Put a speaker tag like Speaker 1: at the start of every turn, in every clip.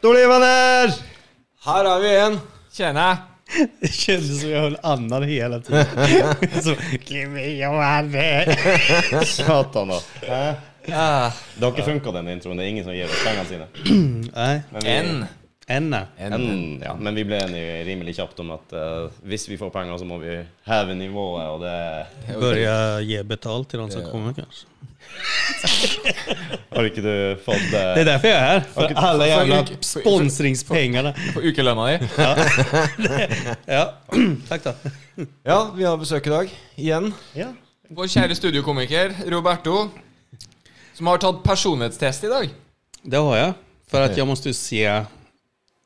Speaker 1: Stordriv-Anders!
Speaker 2: Her er vi igjen.
Speaker 3: Tjena!
Speaker 1: Det kändes som jag höll andan hela tiden. Så, Give me your money.
Speaker 4: Satan, da.
Speaker 3: Ah,
Speaker 4: Det har ikke funka, den introen. Det er ingen som gir oss pengene sine.
Speaker 1: Nej,
Speaker 4: Men vi,
Speaker 3: en.
Speaker 1: ännu.
Speaker 4: en, Mm, ja. Men vi ble enige rimelig kjapt om at eh, hvis vi får penger, så må vi heve nivået, og det
Speaker 1: Börja ge betalt till de som kommer kanske.
Speaker 4: Har ikke du fått
Speaker 1: Det är
Speaker 4: eh,
Speaker 1: därför jag är här. För
Speaker 4: Okej.
Speaker 1: alla jävla
Speaker 3: För- för-
Speaker 1: sponsringspengarna.
Speaker 3: På ukelønna di.
Speaker 1: Ja, tack då.
Speaker 2: Ja, vi har besøk i dag. Igjen.
Speaker 4: Ja.
Speaker 3: Vår kjære studiokomiker Roberto, som har tatt personlighetstest i dag.
Speaker 1: Det har jag. För att jag måste ju se.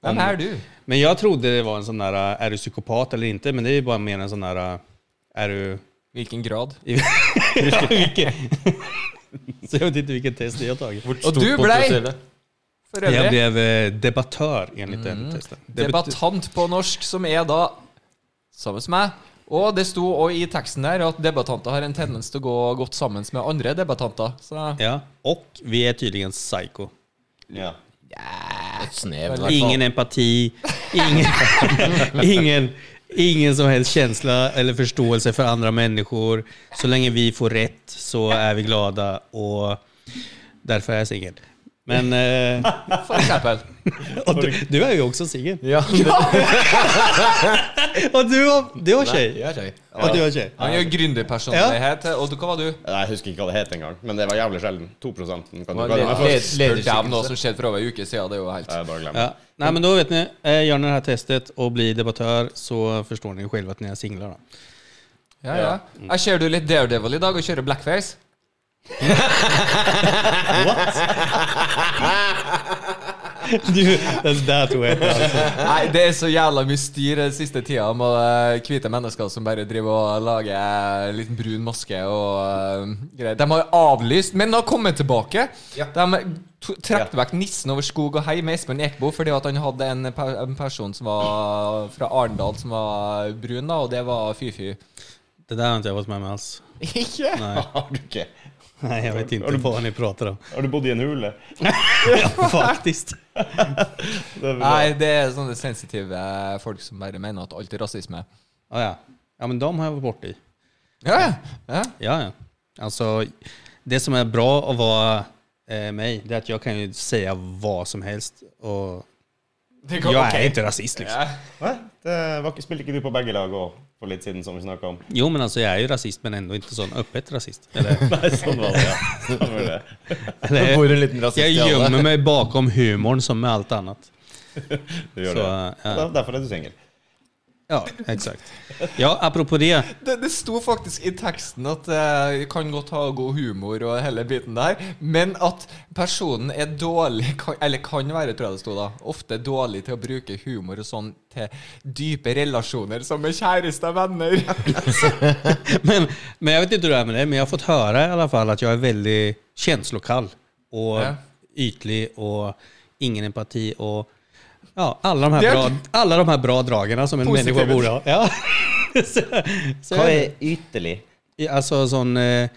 Speaker 3: Hvem er du?
Speaker 1: Men jag trodde det var en sån där, äh, är du psykopat eller inte? Men det är ju bara mer en sån där, äh, är du...
Speaker 3: Hvilken grad?
Speaker 1: Vilken- Så jag vet inte vilket test jag har tagit.
Speaker 3: Og du blei, for
Speaker 1: Jag
Speaker 3: øvrig,
Speaker 1: blev eh, debattör enligt den testen. Det bet-
Speaker 3: debattant på norsk, som er da sammen med meg. Og det sto også i teksten der at debattanter har en tendens til å gå godt sammen med andre debattanter. Så
Speaker 1: Ja, och vi är tydligen psycho.
Speaker 4: ja.
Speaker 5: Et snev der.
Speaker 1: Ingen empati, ingen, ingen, ingen som helst känsla eller förståelse för andra människor. Så länge vi får rätt så är vi glada och därför är jag singel. Men eh,
Speaker 3: for eksempel.
Speaker 1: och du, du är ju också singel.
Speaker 2: Ja,
Speaker 1: Och du har, du har tjej.
Speaker 5: Ja, det er
Speaker 1: Och du har tjej.
Speaker 3: Han gjør gründerpersonlighet. Og hva var du?
Speaker 4: Nei, Jeg husker ikke hva det het engang, men det var jævlig sjelden. 2 kan du
Speaker 5: var
Speaker 4: kalle
Speaker 5: litt- litt-
Speaker 4: meg for.
Speaker 3: Spør deg om noe
Speaker 5: Lederskikkelse.
Speaker 3: som skjedde for over en uke siden. Det er jo helt
Speaker 4: Jeg bare glemmer.
Speaker 1: Ja. Nej men då vet ni, eh, gör ni det här testet och blir debattör så förstår ni själva att ni är singlar. Då.
Speaker 3: Ja, ja. Jeg ser du er litt Daredevil i dag og kjører blackface.
Speaker 1: Du, den där tror jag inte alls.
Speaker 3: Nei, det er så jævla mye styr den siste tida om eh, hvite mennesker som bare driver og lager en liten brun maske og eh, greier. De har avlyst, men har kommet tilbake. De to- trakk vekk nissen over skog og hei med Espen Ekbo fordi at han hadde en, per en person som var fra Arendal som var brun, da, og det var fy-fy.
Speaker 1: Det där har inte jag varit med om alls.
Speaker 3: Ikke?
Speaker 1: Nej.
Speaker 4: Har du ikke?
Speaker 1: Nej, jag vet inte vad ni pratar om.
Speaker 4: Har du bodd i en hule?
Speaker 1: Faktiskt.
Speaker 4: Det er bra.
Speaker 3: Nei, det er sånne sensitive eh, folk som bare mener at alt er rasisme.
Speaker 1: Ja, ja. ja, men de har jag varit borta i.
Speaker 3: Ja, ja. ja.
Speaker 1: Ja, ja. Alltså, det som är bra att vara eh, mig, det är att jag kan ju säga vad som helst. Och
Speaker 3: Det går
Speaker 1: jag
Speaker 3: ok.
Speaker 1: är inte rasist liksom.
Speaker 3: Ja.
Speaker 4: Nei, det var ikke, spilte ikke du på begge lag òg for litt siden, som vi snakka om?
Speaker 1: Jo, men alltså jag är ju rasist, men ändå inte sån öppet rasist. Eller,
Speaker 4: Nei, sånn var det, ja. Stemmer det.
Speaker 1: eller,
Speaker 5: bor en liten rasist
Speaker 1: jag
Speaker 5: i alle.
Speaker 1: gömmer mig bakom humorn som med allt annat.
Speaker 4: Du gjør
Speaker 1: Så,
Speaker 4: det.
Speaker 1: ja.
Speaker 4: Derfor er du singel.
Speaker 1: Ja, exakt. Ja, apropå det.
Speaker 3: Det, det sto faktisk i teksten at eh, kan godt ha god humor og hele biten der, men at personen er dårlig, kan, eller kan være, tror jeg det sto da, ofte dårlig til å bruke humor og sånn til dype relasjoner som med kjæreste og venner.
Speaker 1: Men, men jag vet inte hur det är med det, men jag har fått höra i alla fall att jag är väldigt känslokall och
Speaker 3: Ja.
Speaker 1: ytlig och ingen empati och ja, alla, de här
Speaker 3: Det-
Speaker 1: bra, alla de här bra dragen som en
Speaker 3: Positivt.
Speaker 1: människa borde ha. Ja. så, så,
Speaker 4: Hva er ytterlig?
Speaker 1: Ja, Alltså sån... Eh,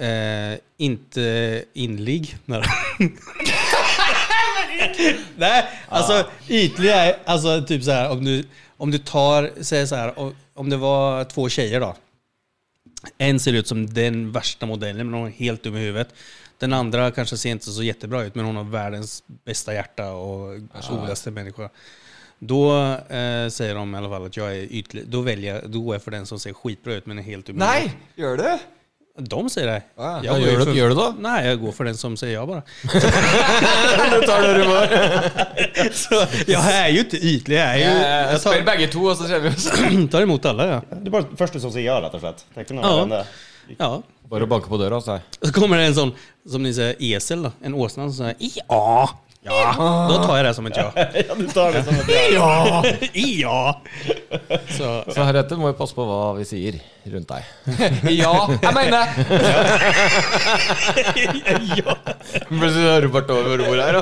Speaker 1: eh, inte inlig. Nej, alltså ytlig är alltså, typ så här om du, om du tar, säg så här, om- om det var två tjejer då. En ser ut som den värsta modellen, men hon är helt dum i huvudet. Den andra kanske ser inte så jättebra ut, men hon har världens bästa hjärta och godaste människa. Då eh, säger de i alla fall att jag är ytlig. Då väljer jag, då går jag för den som ser skitbra ut, men är helt dum i
Speaker 3: Nei,
Speaker 1: huvudet.
Speaker 3: gjør du?
Speaker 1: De säger det.
Speaker 3: Ja,
Speaker 1: Jag går
Speaker 5: gör
Speaker 1: ju
Speaker 5: du- gör du då?
Speaker 1: Nej, jag går för den som säger jag bara.
Speaker 3: Du tar det du må.
Speaker 1: Så, jag är ju inte ytlig. Jag, är ju,
Speaker 3: Jeg
Speaker 1: jag
Speaker 3: spør
Speaker 1: tar,
Speaker 3: begge to, og så ser vi oss.
Speaker 1: tar emot alla. Ja.
Speaker 4: Du er bare første som sier ja, rett og slett. Det er ikke noe
Speaker 1: Ja.
Speaker 4: mer enn det.
Speaker 1: Ja.
Speaker 5: Bare å banke på døra, altså.
Speaker 1: Så kommer det en sånn, som ni säger, esel då. En åsna som säger ja. Ja, då tar jag det som ett ja.
Speaker 4: Ja, du tar det som et ja.
Speaker 1: ja. Så,
Speaker 5: Så heretter må vi passe på hva vi sier rundt deg.
Speaker 3: Ja, jeg mener det.
Speaker 1: ja.
Speaker 5: Plutselig er Robert over bordet her.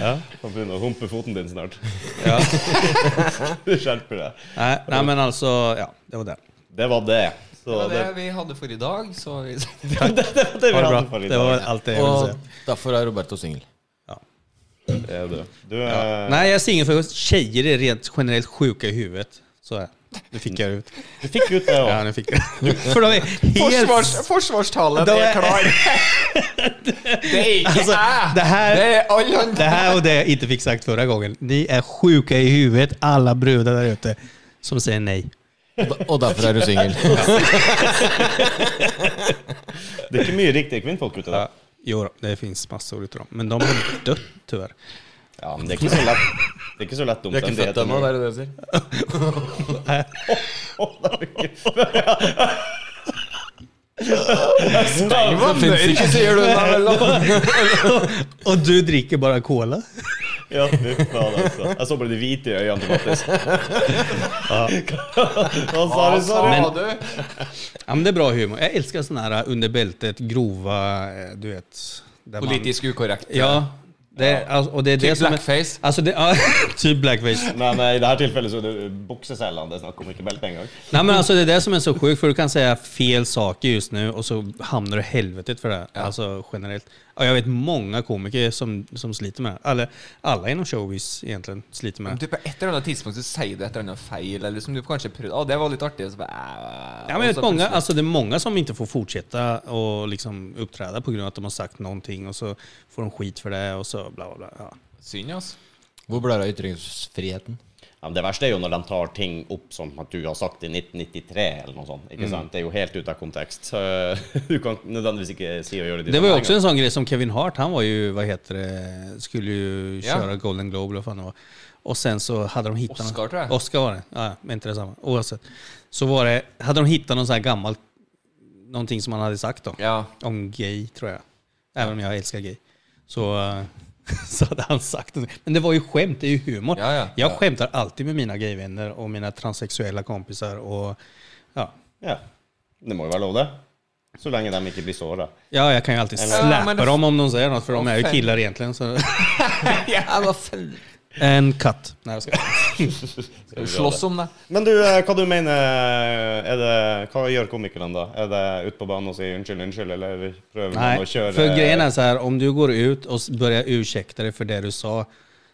Speaker 5: da.
Speaker 4: Han begynner å humpe foten din snart.
Speaker 1: ja.
Speaker 4: Du skjerper deg.
Speaker 1: Nej, nej, men alltså, ja, det var det.
Speaker 4: Det var det. Så
Speaker 3: Det var
Speaker 4: det,
Speaker 3: det vi hadde for i dag, så vi
Speaker 4: det, var det vi
Speaker 1: Ha det
Speaker 4: hadde
Speaker 1: bra.
Speaker 4: for i
Speaker 1: Det var
Speaker 4: dag.
Speaker 1: allt det jag ville
Speaker 5: Og
Speaker 1: säga.
Speaker 5: derfor er Roberto singel.
Speaker 1: Ja.
Speaker 4: Det är du. Du eh, är...
Speaker 1: Nej, jag är singel för tjejer är rent generellt sjuka i huvudet. Så är det. Nu fick jag det ut.
Speaker 4: Du fick ut det
Speaker 1: Ja,
Speaker 4: ja.
Speaker 1: nu fick jag det. För de är
Speaker 3: Forsvars,
Speaker 1: helt...
Speaker 3: forsvarstalen
Speaker 1: De
Speaker 3: er
Speaker 1: er-
Speaker 3: klar! det er ikke
Speaker 1: Alltså,
Speaker 3: jeg!
Speaker 1: det här-
Speaker 3: det er alle
Speaker 1: Det
Speaker 3: andre.
Speaker 1: här och det jag inte fick sagt förra gången. Ni är sjuka i huvudet, alla brudar där ute som säger nej.
Speaker 5: Og derfor er du singel.
Speaker 4: Det är inte mycket riktiga kvinnfolk ute där.
Speaker 1: Jo, då, det finns massor utav dem. Men de har dött tyvärr.
Speaker 4: Ja, men det är inte så lätt. Det är inte så lätt dumt.
Speaker 5: Du er ikke født ennå, det er det du sier?
Speaker 3: Det finnes ikke, sier du. Nei, vel, da.
Speaker 1: Och du dricker bara cola?
Speaker 4: Ja, fy faen, altså. Jeg så alltså. bare de hvite i øynene til Mattis. Hva sa du, sa du?
Speaker 3: Sa du?
Speaker 1: Ja, men det är bra humor. Jag älskar såna här under bältet grova, eh, du vet. där man-
Speaker 3: Politisk ukorrekt.
Speaker 1: Ja. Det, alltså, och det är det
Speaker 3: Typ
Speaker 1: som
Speaker 3: blackface.
Speaker 1: Är, alltså det, ja, typ blackface.
Speaker 4: Men eh, i dette tilfellet så er det bukseselgene det er snakk om, ikke belte engang.
Speaker 1: Nej, men alltså, det är det som är så sjukt, för du kan säga fel saker just nu och så hamnar du i helvetet för det. Alltså generellt. Ja, jag vet många komiker som, som sliter med det. Alla, alla inom showbiz egentligen sliter med
Speaker 3: Om
Speaker 1: det.
Speaker 3: du på et eller annet tidspunkt så sier du et eller annet feil, eller som du kanskje prøvde Å, det var litt artig. og Så bare, "Æ, æ, æ."
Speaker 1: Ja, men
Speaker 3: Og
Speaker 1: jag vet
Speaker 3: så
Speaker 1: många,
Speaker 3: plutselig-
Speaker 1: alltså det är många som inte får fortsätta och liksom uppträda på grund av att de har sagt någonting och så får de skit för det och så bla bla bla. Ja.
Speaker 3: Synd, altså.
Speaker 5: Hvor blir det av ytringsfriheten?
Speaker 4: Ja, men det verste er jo når de tar ting opp som at du har sagt i 1993 eller noe sånt.
Speaker 1: Mm.
Speaker 4: ikke sant? Det er jo helt ute av kontekst. Så eh, du kan nødvendigvis ikke si og gjøre de
Speaker 1: Det var ju
Speaker 4: samme
Speaker 1: också en sån grej som Kevin Hart, han var ju, vad heter det, skulle ju
Speaker 3: Ja.
Speaker 1: köra Golden Globe eller vad fan det var. Och sen så hade de hittat... någon-
Speaker 3: Oscar, tror jag.
Speaker 1: Oscar var det, ja, men inte det samma. Oavsett. Så var det, hade de hittat någon sån här gammal, någonting som han hade sagt då.
Speaker 3: Ja.
Speaker 1: Om gay, tror jag. Även om jag älskar gay. Så, eh, så hade han sagt det. Men det var ju skämt, det är ju humor.
Speaker 3: Ja, ja.
Speaker 1: jag skämtar alltid med mina gayvänner och mina transsexuella kompisar och ja.
Speaker 4: Ja. Det må jo være lov, det. Så lenge de ikke blir såra.
Speaker 1: Ja, jag kan ju alltid släppa
Speaker 3: men det-
Speaker 1: dem om de säger något, för de är ju
Speaker 3: Åh,
Speaker 1: killar egentligen. Så.
Speaker 3: ja hva faen?
Speaker 1: En katt. Nej, jag ska.
Speaker 3: Slåss om det.
Speaker 4: Men du, eh, hva du mener er det, Hva gjør komikerne da? Er det ut på banen og si unnskyld, unnskyld, eller prøver man
Speaker 1: Nej,
Speaker 4: å kjøre
Speaker 1: för grejen är så här, om du går ut och s- börjar ursäkta dig för det du sa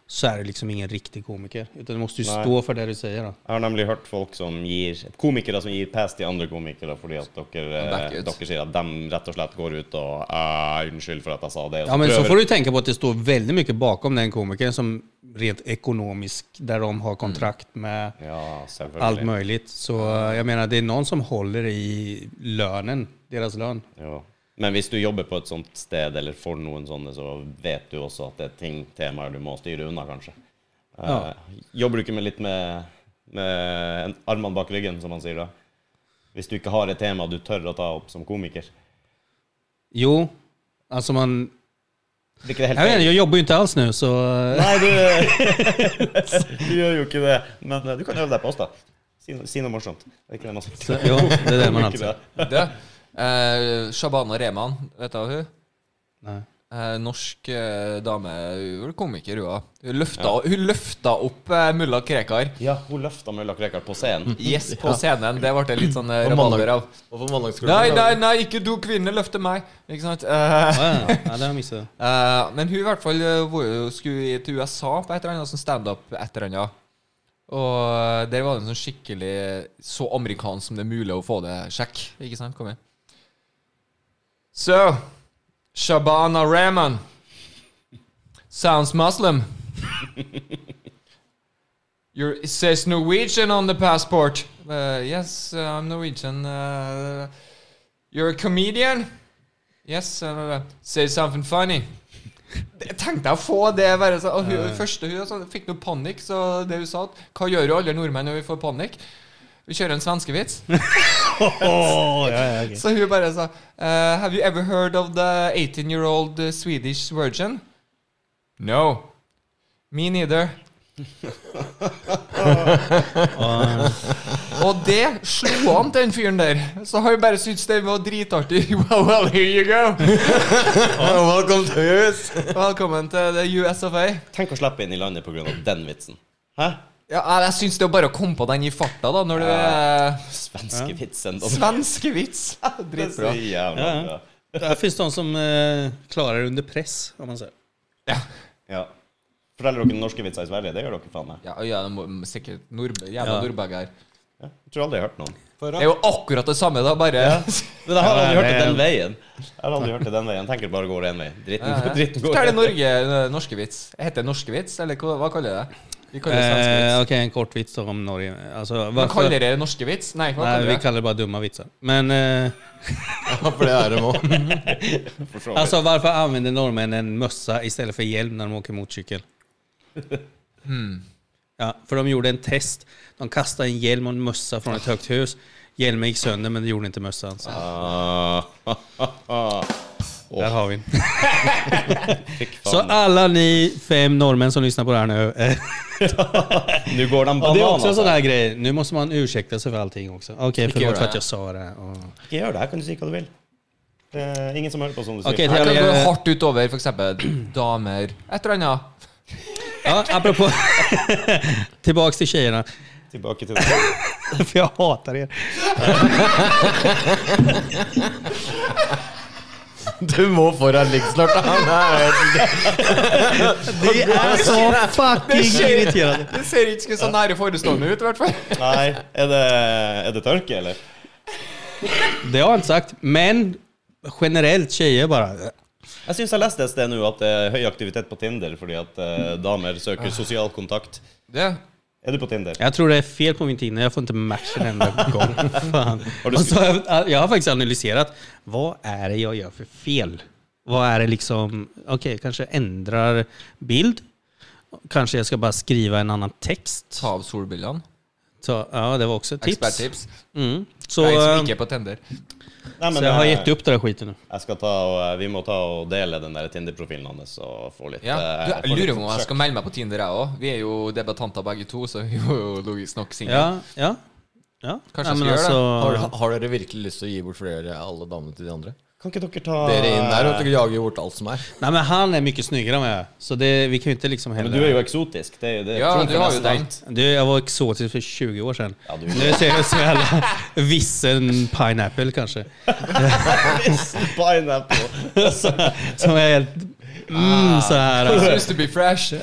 Speaker 1: så är du liksom ingen riktig komiker. Utan du måste ju
Speaker 4: Nej.
Speaker 1: stå för det du säger. Då.
Speaker 4: Jeg har nemlig hørt folk som gir Komikere som gir pass til andre komikere fordi at dere,
Speaker 3: Back
Speaker 4: eh,
Speaker 3: ut.
Speaker 4: dere sier at de rett og slett går ut og «Ah, 'Unnskyld for at jeg sa det'. og
Speaker 1: Ja, men så
Speaker 4: prøver-
Speaker 1: får du tänka på att det står väldigt mycket bakom den komikern som rent ekonomisk, där de har kontrakt med
Speaker 4: Ja, selvfølgelig.
Speaker 1: allt möjligt. Så eh, jeg mener, det är någon som håller i lönen, deras lön.
Speaker 4: Ja. Men hvis du jobber på et sånt sted eller får noen sånne, så vet du også at det er ting, temaer du må styre unna, kanskje. Eh,
Speaker 1: Ja.
Speaker 4: Jobber du ikke med litt med, med en- armene bak ryggen, som man sier da? Hvis du ikke har et tema du tør å ta opp som komiker?
Speaker 1: Jo, alltså man...
Speaker 4: Blir ikke det helt
Speaker 1: Jag, vet,
Speaker 4: feil?
Speaker 1: inte, jag jobbar ju inte alls nu så... eh,
Speaker 4: Nei, du, du gjør jo ikke det. Men eh, du kan øve deg på oss, da. Si, no- si noe morsomt. Det er ikke det man sier.
Speaker 1: så jo, det är det man alltså.
Speaker 4: Ikke
Speaker 1: alltid...
Speaker 4: det.
Speaker 3: Du, eh, Shabana Rehman, vet du hun?
Speaker 1: Nej.
Speaker 3: Eh, norsk eh, dame, hun var komiker, hun òg. Hun, løfta- hun løfta opp eh, mulla Krekar.
Speaker 4: Ja, hun løfta mulla Krekar på scenen.
Speaker 1: Mm.
Speaker 3: Yes, på scenen. Det ble det litt sånn eh,
Speaker 5: Og mandag-
Speaker 3: rabalder av.
Speaker 5: Hvorfor mandagsskolen?
Speaker 3: Nei, nei, nei, ikke du kvinne løfter meg! Ikke sant? Eh,
Speaker 1: Ja, ja, ja, det har jag missat.
Speaker 3: eh, men hun i hvert fall eh, var jo- skulle til USA på et eller annet sånn standup et eller annet. Og eh, der var det en sånn skikkelig så amerikansk som det er mulig å få det sjekk. Ikke sant? Kom igjen. So, Shabana Rahman sounds Muslim. Your, it says Norwegian on the passport. Uh, yes, uh, I'm Norwegian. Uh, you're a comedian? Yes. Uh, say something funny. Jeg tenkte jeg å få det være så, og hun, første hun så fikk noe panikk, så det hun sa at Hva gjør jo alle nordmenn når vi får panikk? Vi kjører en svenskevits.
Speaker 1: Åh, ja, ja, okej.
Speaker 3: Så hun bare sa eh, Have you ever heard of the 18 year old eh, Swedish virgin? No. Me neither. Og det slo an til den fyren der. Så han bare syntes det var dritartig. Well, well, here you go.
Speaker 5: Welcome to us!
Speaker 3: Velkommen til the US of A.
Speaker 4: Tenk å slippe inn i landet pga. den vitsen. Hæ?
Speaker 3: Ja, jeg syns det er bare å komme på den i farta, da, når du er
Speaker 4: Svenske vitsen. da.
Speaker 3: Svenskevits.
Speaker 4: Det er så
Speaker 3: Dritbra.
Speaker 4: jævla
Speaker 1: Ja.
Speaker 4: bra.
Speaker 1: Där finns de som eh, klarar det under press, om man säger.
Speaker 4: Ja. Forteller dere norske vitser i Sverige? Det gjør dere faen meg.
Speaker 3: Ja, ja det må, sikkert nord, jævla
Speaker 1: Ja.
Speaker 3: nordberger.
Speaker 4: Ja. Jeg tror aldri jeg har hørt noen.
Speaker 3: Det er jo akkurat det samme, da, bare
Speaker 4: Men jeg har aldri
Speaker 1: Ja,
Speaker 4: hørt det
Speaker 1: det-
Speaker 4: den veien. Jeg har aldri hørt det den veien. Jeg tenker det bare går én vei. Dritten, dritten går
Speaker 3: Fortell en Norge norskevits. Heter det norskevits, eller hva, hva kaller jeg det? Vi kaller det
Speaker 1: Eh,
Speaker 3: svenskevits.
Speaker 1: ok, en kort vits om Norge. Altså,
Speaker 3: Hva
Speaker 1: varför-
Speaker 3: kaller dere norskevits? Nei, hva
Speaker 1: Nej,
Speaker 3: kaller
Speaker 1: vi
Speaker 3: dere det?
Speaker 1: kallar det bara dumma vitsar. Men eh,
Speaker 5: Ja, for det er det nå.
Speaker 4: for så vidt.
Speaker 1: alltså, varför använder norrmän en mössa istället för hjälm när de åker motorcykel? Ja, för de gjorde en test. De kastade en hjälm och en mössa från ett högt hus. Hjälmen gick sönder, men det gjorde inte mössan. Så
Speaker 4: Ah,
Speaker 1: där har vi den.
Speaker 4: Fikk
Speaker 1: Så
Speaker 4: faen.
Speaker 1: alla ni fem norrmän som lyssnar på det här nu. eh,
Speaker 4: Nå går de
Speaker 1: och det är också
Speaker 4: bananas
Speaker 1: en sån
Speaker 4: her.
Speaker 1: här grej. Nu måste man ursäkta sig för allting också. Okej,
Speaker 3: göra
Speaker 1: förlåt för
Speaker 3: det.
Speaker 1: att jag sa det. och-
Speaker 4: Ikke gjør det. Her kan du si hva du vil. Det er ingen som hører på sånn du sier.
Speaker 1: Okej,
Speaker 3: Jeg
Speaker 1: till
Speaker 3: kan gå
Speaker 1: alla-
Speaker 3: hardt utover f.eks. damer Et eller annet.
Speaker 1: Ja, apropå... Tillbaks till tjejerna.
Speaker 4: Tilbake til det.
Speaker 1: För jag hatar er.
Speaker 5: Du må foran ligg snart. da. Nei,
Speaker 1: Det er så fucking irriterende.
Speaker 3: Det ser ikke så nære forestående ut, i hvert fall.
Speaker 4: Nei, er det, er det tørke, eller?
Speaker 1: Det har jeg ikke sagt, men generelt tjejer bare
Speaker 4: Jeg syns jeg leste et sted nå at det er høy aktivitet på Tinder fordi at eh, damer søker sosial kontakt.
Speaker 3: Det.
Speaker 4: Er du på Tinder?
Speaker 1: Jeg tror det er feil på min Tinder. Jeg får ikke match en enda gang. Fan.
Speaker 4: Har du
Speaker 1: Og så har jeg, jeg har faktisk analysert hva er det jeg gjør for feil. Hva er det liksom Ok, kanskje jeg endrer bild. Kanskje jeg skal bare skrive en annen tekst.
Speaker 3: Ta av solbrillene.
Speaker 1: Så, ja, det var også et tips.
Speaker 3: Eksperttips.
Speaker 1: Mm. Så,
Speaker 3: Jeg som
Speaker 1: så
Speaker 3: ikke er på Tender.
Speaker 4: Nei, men
Speaker 1: jeg har
Speaker 4: eh,
Speaker 1: gitt opp den skiten nå.
Speaker 4: Jeg skal ta og, eh, vi må ta og dele den der Tinder-profilen hans og få litt
Speaker 3: Ja.
Speaker 4: eh,
Speaker 3: Du,
Speaker 4: få
Speaker 3: jeg lurer
Speaker 4: litt
Speaker 3: på om jeg skal melde meg på Tinder, jeg òg. Vi er jo debattanter begge to, så vi er jo logisk nok single.
Speaker 1: Ja, ja. ja.
Speaker 3: Kanskje jeg
Speaker 1: Nei, men alltså-
Speaker 3: skal gjøre det.
Speaker 5: har, har dere virkelig lyst til å gi bort flere alle damene til de andre?
Speaker 4: Kan ikke dere ta eh,
Speaker 5: Dere inn der og jager bort alt som er.
Speaker 1: Nej men han är mycket snyggare än vad jag är. Så det, vi kan ju inte liksom heller...
Speaker 4: Men du er jo eksotisk. Det er jo det.
Speaker 3: Ja,
Speaker 4: trumfer
Speaker 3: du har jo
Speaker 4: nesten
Speaker 3: den.
Speaker 4: alt.
Speaker 1: Du, jag var exotisk för 20 år sedan.
Speaker 4: Ja, du-
Speaker 1: Nu ser jag ut som en jävla vissen pineapple kanske.
Speaker 4: Pineapple.
Speaker 1: Som är helt... Mm, så här.
Speaker 3: Syns du blir fresh?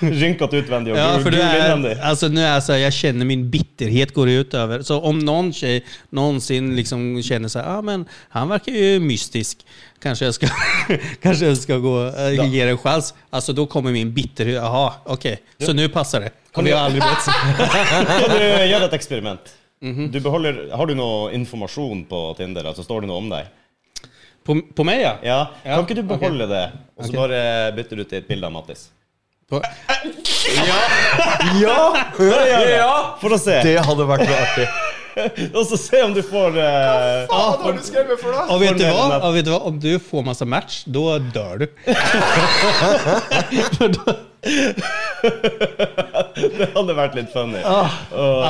Speaker 4: Rynkete utvendig og
Speaker 1: Ja,
Speaker 4: gul
Speaker 1: för
Speaker 4: gul
Speaker 1: du
Speaker 4: innvendig.
Speaker 1: är, alltså, nu är jag så här, jag känner min bitterhet går ut över. Så om någon tjej någonsin liksom känner så här, ah, men han verkar ju mystisk. Kanske jag ska, kanske jeg ska gå, eh, ge det en chans. Alltså då kommer min bitterhet, jaha, okej. Så nu passar det. Och vi har aldrig börjat
Speaker 4: Kan du gjøre et eksperiment? Du beholder, har du noe informasjon på Tinder? Altså Står det noe om deg?
Speaker 1: På, på meg, ja?
Speaker 4: Ja,
Speaker 1: Ja,
Speaker 4: Kan ikke du beholde det, og så bare bytter du til et bilde av Mattis?
Speaker 1: På,
Speaker 4: Ja! For å se.
Speaker 5: Det hadde vært noe artig.
Speaker 4: Og så se om du får eh,
Speaker 3: Hva har du skrevet for, da?
Speaker 1: og, vet du
Speaker 4: Fornøyd
Speaker 1: hva?
Speaker 4: med-
Speaker 1: og vet du hva? Om du får masse match, da dør du.
Speaker 4: Det hadde vært litt funny.
Speaker 1: Ja,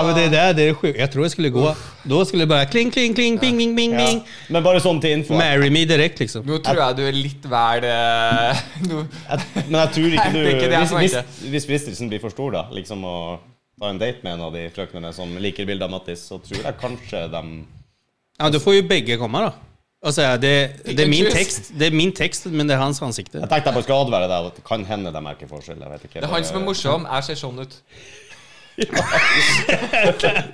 Speaker 1: men det der, det er sjukt. Jeg tror jeg skulle gå. Da skulle det bare kling, kling, kling, bing, bing, bing,
Speaker 4: Ja.
Speaker 1: bing.
Speaker 4: Men bare sånn til info.
Speaker 1: Marry me direkte, liksom.
Speaker 3: Nå tror jeg du er litt vel eh, nå-
Speaker 4: Men jeg tror ikke
Speaker 3: Nei, det er ikke
Speaker 4: du
Speaker 3: det jeg
Speaker 4: Hvis, hvis,
Speaker 3: tenkte.
Speaker 4: hvis fristelsen blir for stor, da, liksom å ta en date med en av de frøknene som liker bildet av Mattis, så tror jeg kanskje de
Speaker 1: Ja, da får jo begge komme, da. Altså, Alltså, det, det, er min
Speaker 3: Ikke kyss.
Speaker 1: tekst, det er min tekst, men det er hans ansikte.
Speaker 4: Jeg tenkte jeg bare skal advare deg, at det kan hende de merker forskjell. Jeg vet ikke.
Speaker 3: Det er han som er morsom. Jeg ser sånn ut.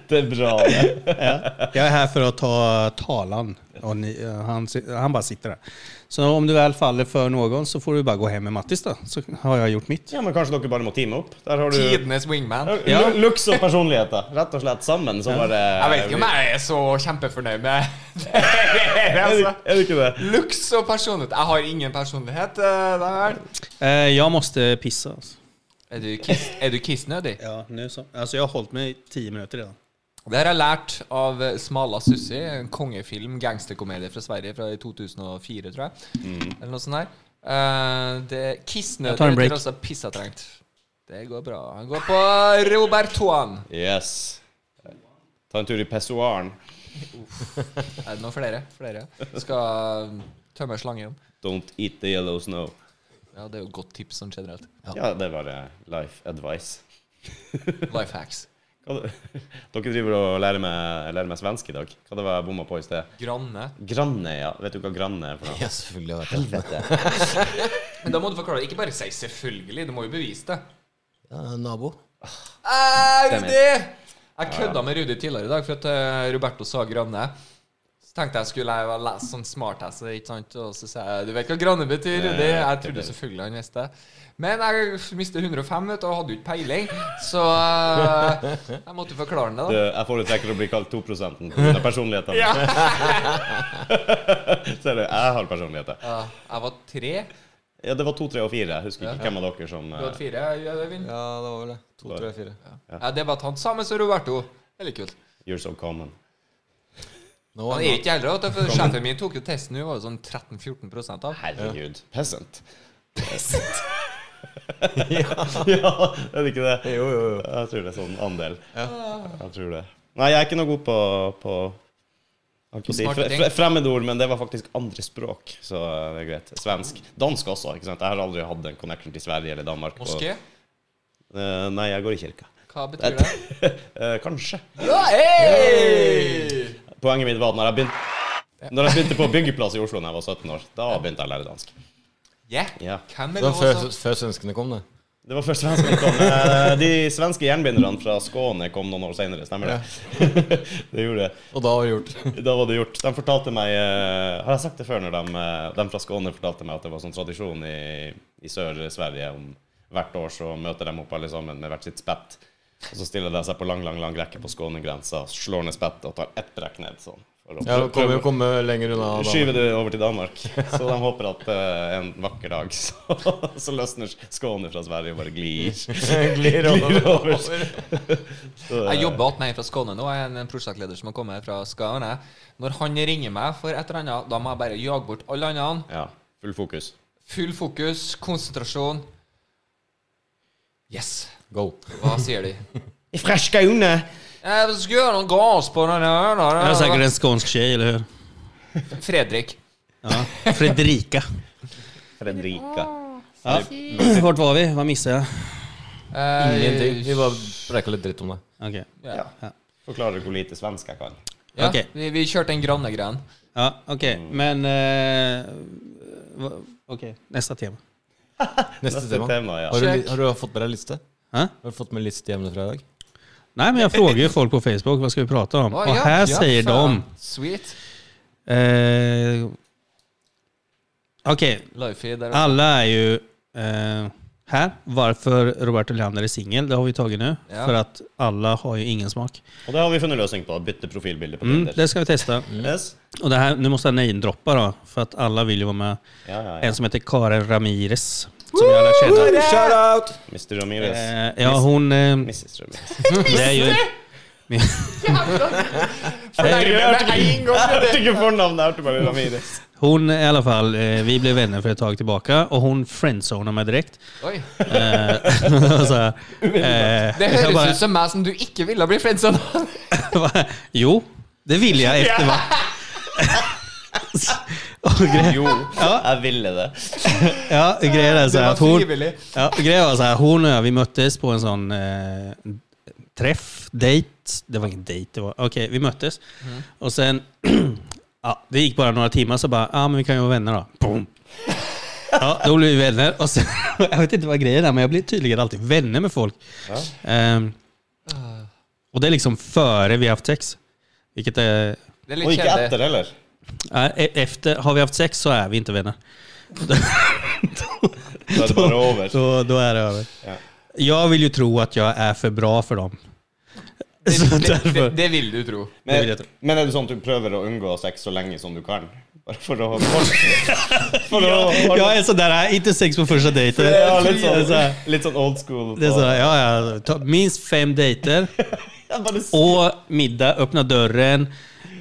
Speaker 4: Det er bra, det.
Speaker 1: Jeg er her for å ta talan, og ni, eh, han, si- han bare sitter der. Så om du vel faller for noen, så får du bare gå hjem med Mattis, da. Så har jeg gjort mitt.
Speaker 4: Ja, men kanskje dere bare må teame opp? Der har du
Speaker 3: Tidenes wingman.
Speaker 1: Ja.
Speaker 4: Lu- Looks og personligheter, rett og slett sammen. Så bare
Speaker 3: Jeg vet ikke om jeg er så kjempefornøyd med Alltså, det.
Speaker 4: Er du,
Speaker 3: altså.
Speaker 4: er du ikke det?
Speaker 3: Looks og personlighet. Jeg har ingen personlighet. eh, det er vel.
Speaker 1: Eh, Jeg måste pissa, alltså. altså.
Speaker 3: Er du kiss- er du kissnødig?
Speaker 1: Ja, nu så. Alltså jag har hållit mig i tio minuter redan.
Speaker 3: Det har jeg lært av eh, Smala Sussi, en kongefilm, gangsterkomedie fra Sverige fra i 2004, tror jeg. Eller noe sånt her. Eh, det
Speaker 1: Jeg tar
Speaker 3: Kissnødig
Speaker 1: en break.
Speaker 3: heter også pissatrengt. Det går bra. Han går på Robert Toan.
Speaker 4: Yes. Ta en tur i pessoaren.
Speaker 3: Er det noen flere? Flere. Skal tømme eh, slangen.
Speaker 4: Don't eat the yellow snow.
Speaker 3: Ja, det er jo et godt tips sånn generelt.
Speaker 4: Ja, det er bare life advice.
Speaker 3: Life hacks.
Speaker 4: Hva, dere driver og lærer meg, lærer meg svensk i dag. Hva det var jeg bomma på i sted?
Speaker 3: Granne.
Speaker 4: Granne, ja. Vet du hva granne er for noe?
Speaker 5: Ja, selvfølgelig har jeg vært det.
Speaker 3: Men da må du forklare det. Ikke bare si 'selvfølgelig', du må jo bevise det.
Speaker 5: Ja, nabo.
Speaker 3: Er
Speaker 4: Stemmer.
Speaker 3: det? Jeg kødda med Rudi tidligere i dag, for at eh, Roberto sa Granne. Så tenkte jeg skulle jeg lese sånn smartass, ikke sant? og så sa jeg Du vet hva Granne betyr, Rudi? Jeg trodde selvfølgelig han visste det. Men jeg mistet 105 vet, du, og hadde jo ikke peiling, så eh, jeg måtte forklare det,
Speaker 4: Du,
Speaker 3: da.
Speaker 4: Jeg foretrekker å bli kalt 2 pga. personligheten.
Speaker 3: Ja.
Speaker 4: Ser du, jeg har personligheter.
Speaker 3: Ja, jeg var tre.
Speaker 4: Ja, det var to, tre og fire. Jeg husker ikke hvem av dere som
Speaker 3: Du hadde
Speaker 4: eh,
Speaker 3: fire, ja, Øyvind?
Speaker 2: Ja, det var vel det. To, tre, fire.
Speaker 3: Ja, det var at han sammen som Roberto. Veldig kult.
Speaker 4: You're so eh, common.
Speaker 5: Nå
Speaker 3: Han
Speaker 5: er
Speaker 3: er ikke eldre, vet du, for sjefen min tok jo testen, hun var jo sånn 13-14 av.
Speaker 4: Herregud. Peasant. Peasant. ja. er det ikke det?
Speaker 2: Jo, jo, jo.
Speaker 4: Jeg tror det er sånn andel. Jeg tror det. Nei, jeg er ikke noe god på, på jeg holdt på å si,
Speaker 3: Smarte
Speaker 4: fre-
Speaker 3: ting.
Speaker 4: fre- fremmedord, men det var faktisk andre språk. Så eh, det er greit. Svensk. Dansk også. ikke sant? Jeg har aldri hatt en connection til Sverige eller Danmark. på-
Speaker 3: Moské?
Speaker 4: Eh, nei, jeg går i kirka.
Speaker 3: Hva betyr det?
Speaker 4: Eh, kanskje.
Speaker 3: Ja, hey!
Speaker 4: Poenget mitt var at når jeg begynte når jeg begynte på byggeplass i Oslo da jeg var 17 år, da begynte jeg å lære dansk.
Speaker 3: Ja.
Speaker 4: Ja.
Speaker 3: Hvem
Speaker 5: Det
Speaker 3: er det
Speaker 5: var før,
Speaker 3: også?
Speaker 5: før svenskene kom, det.
Speaker 4: Det var først svenskene kom. Eh, De svenske jernbinderne fra Skåne kom noen år senere, stemmer det? Det gjorde det.
Speaker 5: Og da var det gjort.
Speaker 4: Da var det gjort. De fortalte meg eh, Har jeg sagt det før når de, eh, de fra Skåne fortalte meg at det var sånn tradisjon i, i Sør-Sverige om hvert år så møter de opp alle sammen med hvert sitt spett. Og så stiller de seg på lang, lang, lang rekke på Skånegrensa, slår ned spettet og tar ett brekk ned. sånn. for å
Speaker 5: Ja,
Speaker 4: prøve-
Speaker 5: kommer jo komme lenger unna. da.
Speaker 4: Skyver det over til Danmark. Så de håper at eh, en vakker dag så, så løsner Skåne fra Sverige og bare glir.
Speaker 5: Glir over.
Speaker 4: over.
Speaker 3: Jeg jobber attmed en fra Skåne nå. Jeg er en prosjektleder som har kommet fra Skåne. Når han ringer meg for et eller annet, da må jeg bare jage bort alle andre.
Speaker 4: Ja. Full fokus.
Speaker 3: Full fokus, konsentrasjon. Yes.
Speaker 5: Go.
Speaker 3: Hva sier de?
Speaker 4: Fra Skåne!
Speaker 3: Jeg skal gjøre noen gass på den her, da.
Speaker 1: Det er sikkert en skånsk tjej, eller hur?
Speaker 3: Fredrik.
Speaker 1: Ja. Fredrika.
Speaker 4: Fredrika.
Speaker 1: Ja. Mm. Vart var vi? Vad missade jag?
Speaker 3: Eh,
Speaker 5: Ingenting. Vi bare preika litt dritt om deg.
Speaker 1: Okej.
Speaker 3: Ja.
Speaker 4: Forklarer hvor lite svensk jeg kan.
Speaker 3: Ja,
Speaker 1: Ok.
Speaker 3: vi, vi kjørte en grannegrein.
Speaker 1: Ja, okej.
Speaker 3: Mm.
Speaker 1: Men... Eh, va- okej, nästa tema.
Speaker 5: Neste tema.
Speaker 4: ja.
Speaker 5: Har du,
Speaker 3: Check.
Speaker 5: li- har du fått med deg liste?
Speaker 1: Hæ?
Speaker 5: Har du fått med liste hjemmefra i dag?
Speaker 1: Nej, men jag frågar ju folk på Facebook vad ska vi prata om?
Speaker 3: Å,
Speaker 1: Och
Speaker 3: ja,
Speaker 1: här
Speaker 3: ja,
Speaker 1: säger
Speaker 3: faen.
Speaker 1: de...
Speaker 3: Sweet.
Speaker 1: Eh, okej,
Speaker 3: Lifey der også.
Speaker 1: alla är ju eh, här. Varför Roberto Leander är singel, det har vi tagit nu.
Speaker 3: Ja.
Speaker 1: För att alla har ju ingen smak.
Speaker 4: Og det har vi funnet løsning på. Bytte profilbilde på
Speaker 1: Mm,
Speaker 4: Tinder.
Speaker 1: det ska vi testa.
Speaker 4: Yes.
Speaker 1: Och det här, nu måste jag namedroppa då, för att alla vill ju vara med.
Speaker 4: Ja, ja, ja.
Speaker 1: En som heter Karen Ramirez, som jag lär känna.
Speaker 2: Shout out!
Speaker 4: Mr. Ramirez.
Speaker 1: Eh, ja, hon... Eh,
Speaker 4: Mrs. Ramirez.
Speaker 1: det är ju...
Speaker 4: Jeg hørte ikke fornavnet, jeg hørte bare Ramirez.
Speaker 1: Hon i alla fall, eh, vi blev vänner för ett tag tillbaka och hon friendzonade mig direkt.
Speaker 3: Oi.
Speaker 1: Eh, så här, eh,
Speaker 3: Det
Speaker 1: jag
Speaker 3: høres
Speaker 1: bara- Alltså,
Speaker 3: ut som meg som du ikke ville bli friendzone av.
Speaker 1: Va? Jo, det vill jag efter va... Och gre-
Speaker 4: Jo, jeg ville det.
Speaker 1: ja, grejen är så
Speaker 3: Det
Speaker 1: här
Speaker 3: var
Speaker 1: att hon...
Speaker 3: frivillig.
Speaker 1: Ja, grejen var så här, hon och jag, vi möttes på en sån eh, träff, dejt. Det var ingen dejt, det var... Okej, vi möttes. Och sen... ja, det gick bara några timmar så bara, ja ah, men vi kan ju vara vänner då. Boom. Ja, då blev vi vänner. Och sen, jag vet inte vad grejen är, men jag blir tydligen alltid vänner med folk. Ehm, och det är liksom före vi har haft sex. Vilket är...
Speaker 3: Det er
Speaker 4: Og
Speaker 3: litt
Speaker 4: ikke
Speaker 3: kjedelig.
Speaker 4: etter heller.
Speaker 1: Nej, e- efter, har vi haft sex så är vi inte vänner.
Speaker 4: Da er det bare over.
Speaker 1: Då, då är det över.
Speaker 4: Ja.
Speaker 1: Jag vill ju tro att jag är för bra för dem. Så
Speaker 3: Det, det, det,
Speaker 1: därför.
Speaker 3: det vil du tro.
Speaker 1: Det vil jeg
Speaker 4: Men,
Speaker 1: tro.
Speaker 4: men er det sånn at du prøver å unngå sex så lenge som du kan? Bare for å For, for å
Speaker 1: Jag är sådär, nej, inte sex på första dejten.
Speaker 4: ja, litt,
Speaker 1: Det är
Speaker 4: sånn,
Speaker 1: såhär-
Speaker 4: litt sånn old school.
Speaker 1: Det är sådär, ja, ja, ta minst fem dejter
Speaker 4: Jeg bare s-
Speaker 1: och middag, öppna dörren,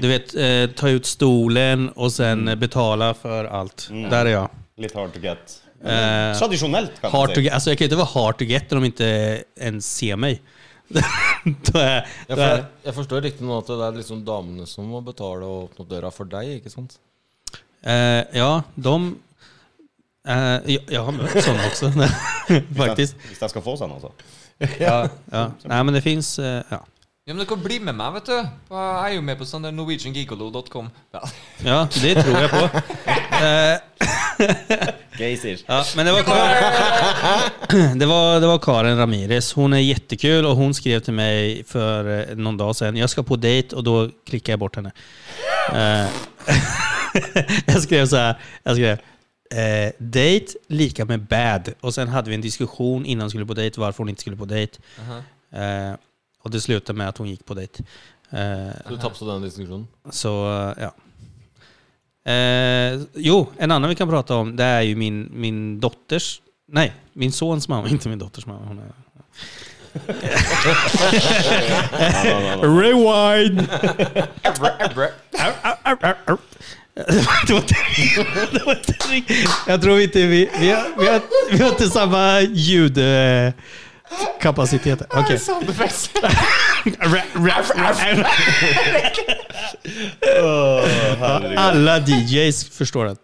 Speaker 1: du vet, eh, ta ut stolen och sen
Speaker 4: Mm.
Speaker 1: eh, betala för allt. Där är jag.
Speaker 4: Litt hard to get.
Speaker 1: Eh,
Speaker 4: Tradisjonelt, Mm. kan
Speaker 1: Hard
Speaker 4: man
Speaker 1: to
Speaker 4: si.
Speaker 1: get, alltså jag kan ju inte vara hard to get när de inte ens ser mig. då är,
Speaker 5: Ja,
Speaker 1: då
Speaker 5: for jeg,
Speaker 1: är,
Speaker 5: jeg forstår riktig nå at det er liksom damene som må betale og åpne opp døra for deg, ikke sant?
Speaker 1: eh, ja, de... Eh, jag, jag har mött sådana också, faktiskt.
Speaker 4: alltså. Hvis jeg skal få sånn, altså.
Speaker 1: Ja. Nej, men det finns... Eh, ja.
Speaker 3: Ja, men dere blir med meg, vet du. På- Jeg er jo med på sånn der norwegiangigolo.com. Ja.
Speaker 1: Ja, det tror jeg på. Eh,
Speaker 4: Geysir.
Speaker 1: ja, men det var, Karin, det, var, det var Karin Ramirez. Hon är jättekul och hon skrev till mig för eh, någon dag sedan. Jag ska på dejt och då klickade jag bort henne. Eh, jag skrev så här. Jag skrev eh, date lika med bad. Och sen hade vi en diskussion innan hon skulle på dejt varför hon inte skulle på dejt. Eh, och det slutade med att hon gick på dejt. Eh,
Speaker 5: Du tapte den diskusjonen.
Speaker 1: Så ja. Eh, jo, en annan vi kan prata om, det är ju min, min dotters, nej, min sons mamma, inte min dotters mamma. Hon är...
Speaker 4: Ja, ja, ja, ja.
Speaker 1: Rewind! det var inte, det var inte riktigt. Jag tror inte vi, vi, har, vi, har, vi har inte samma ljudkapacitet. Okej.
Speaker 4: Åh, herregud.
Speaker 1: Alla DJs förstår det.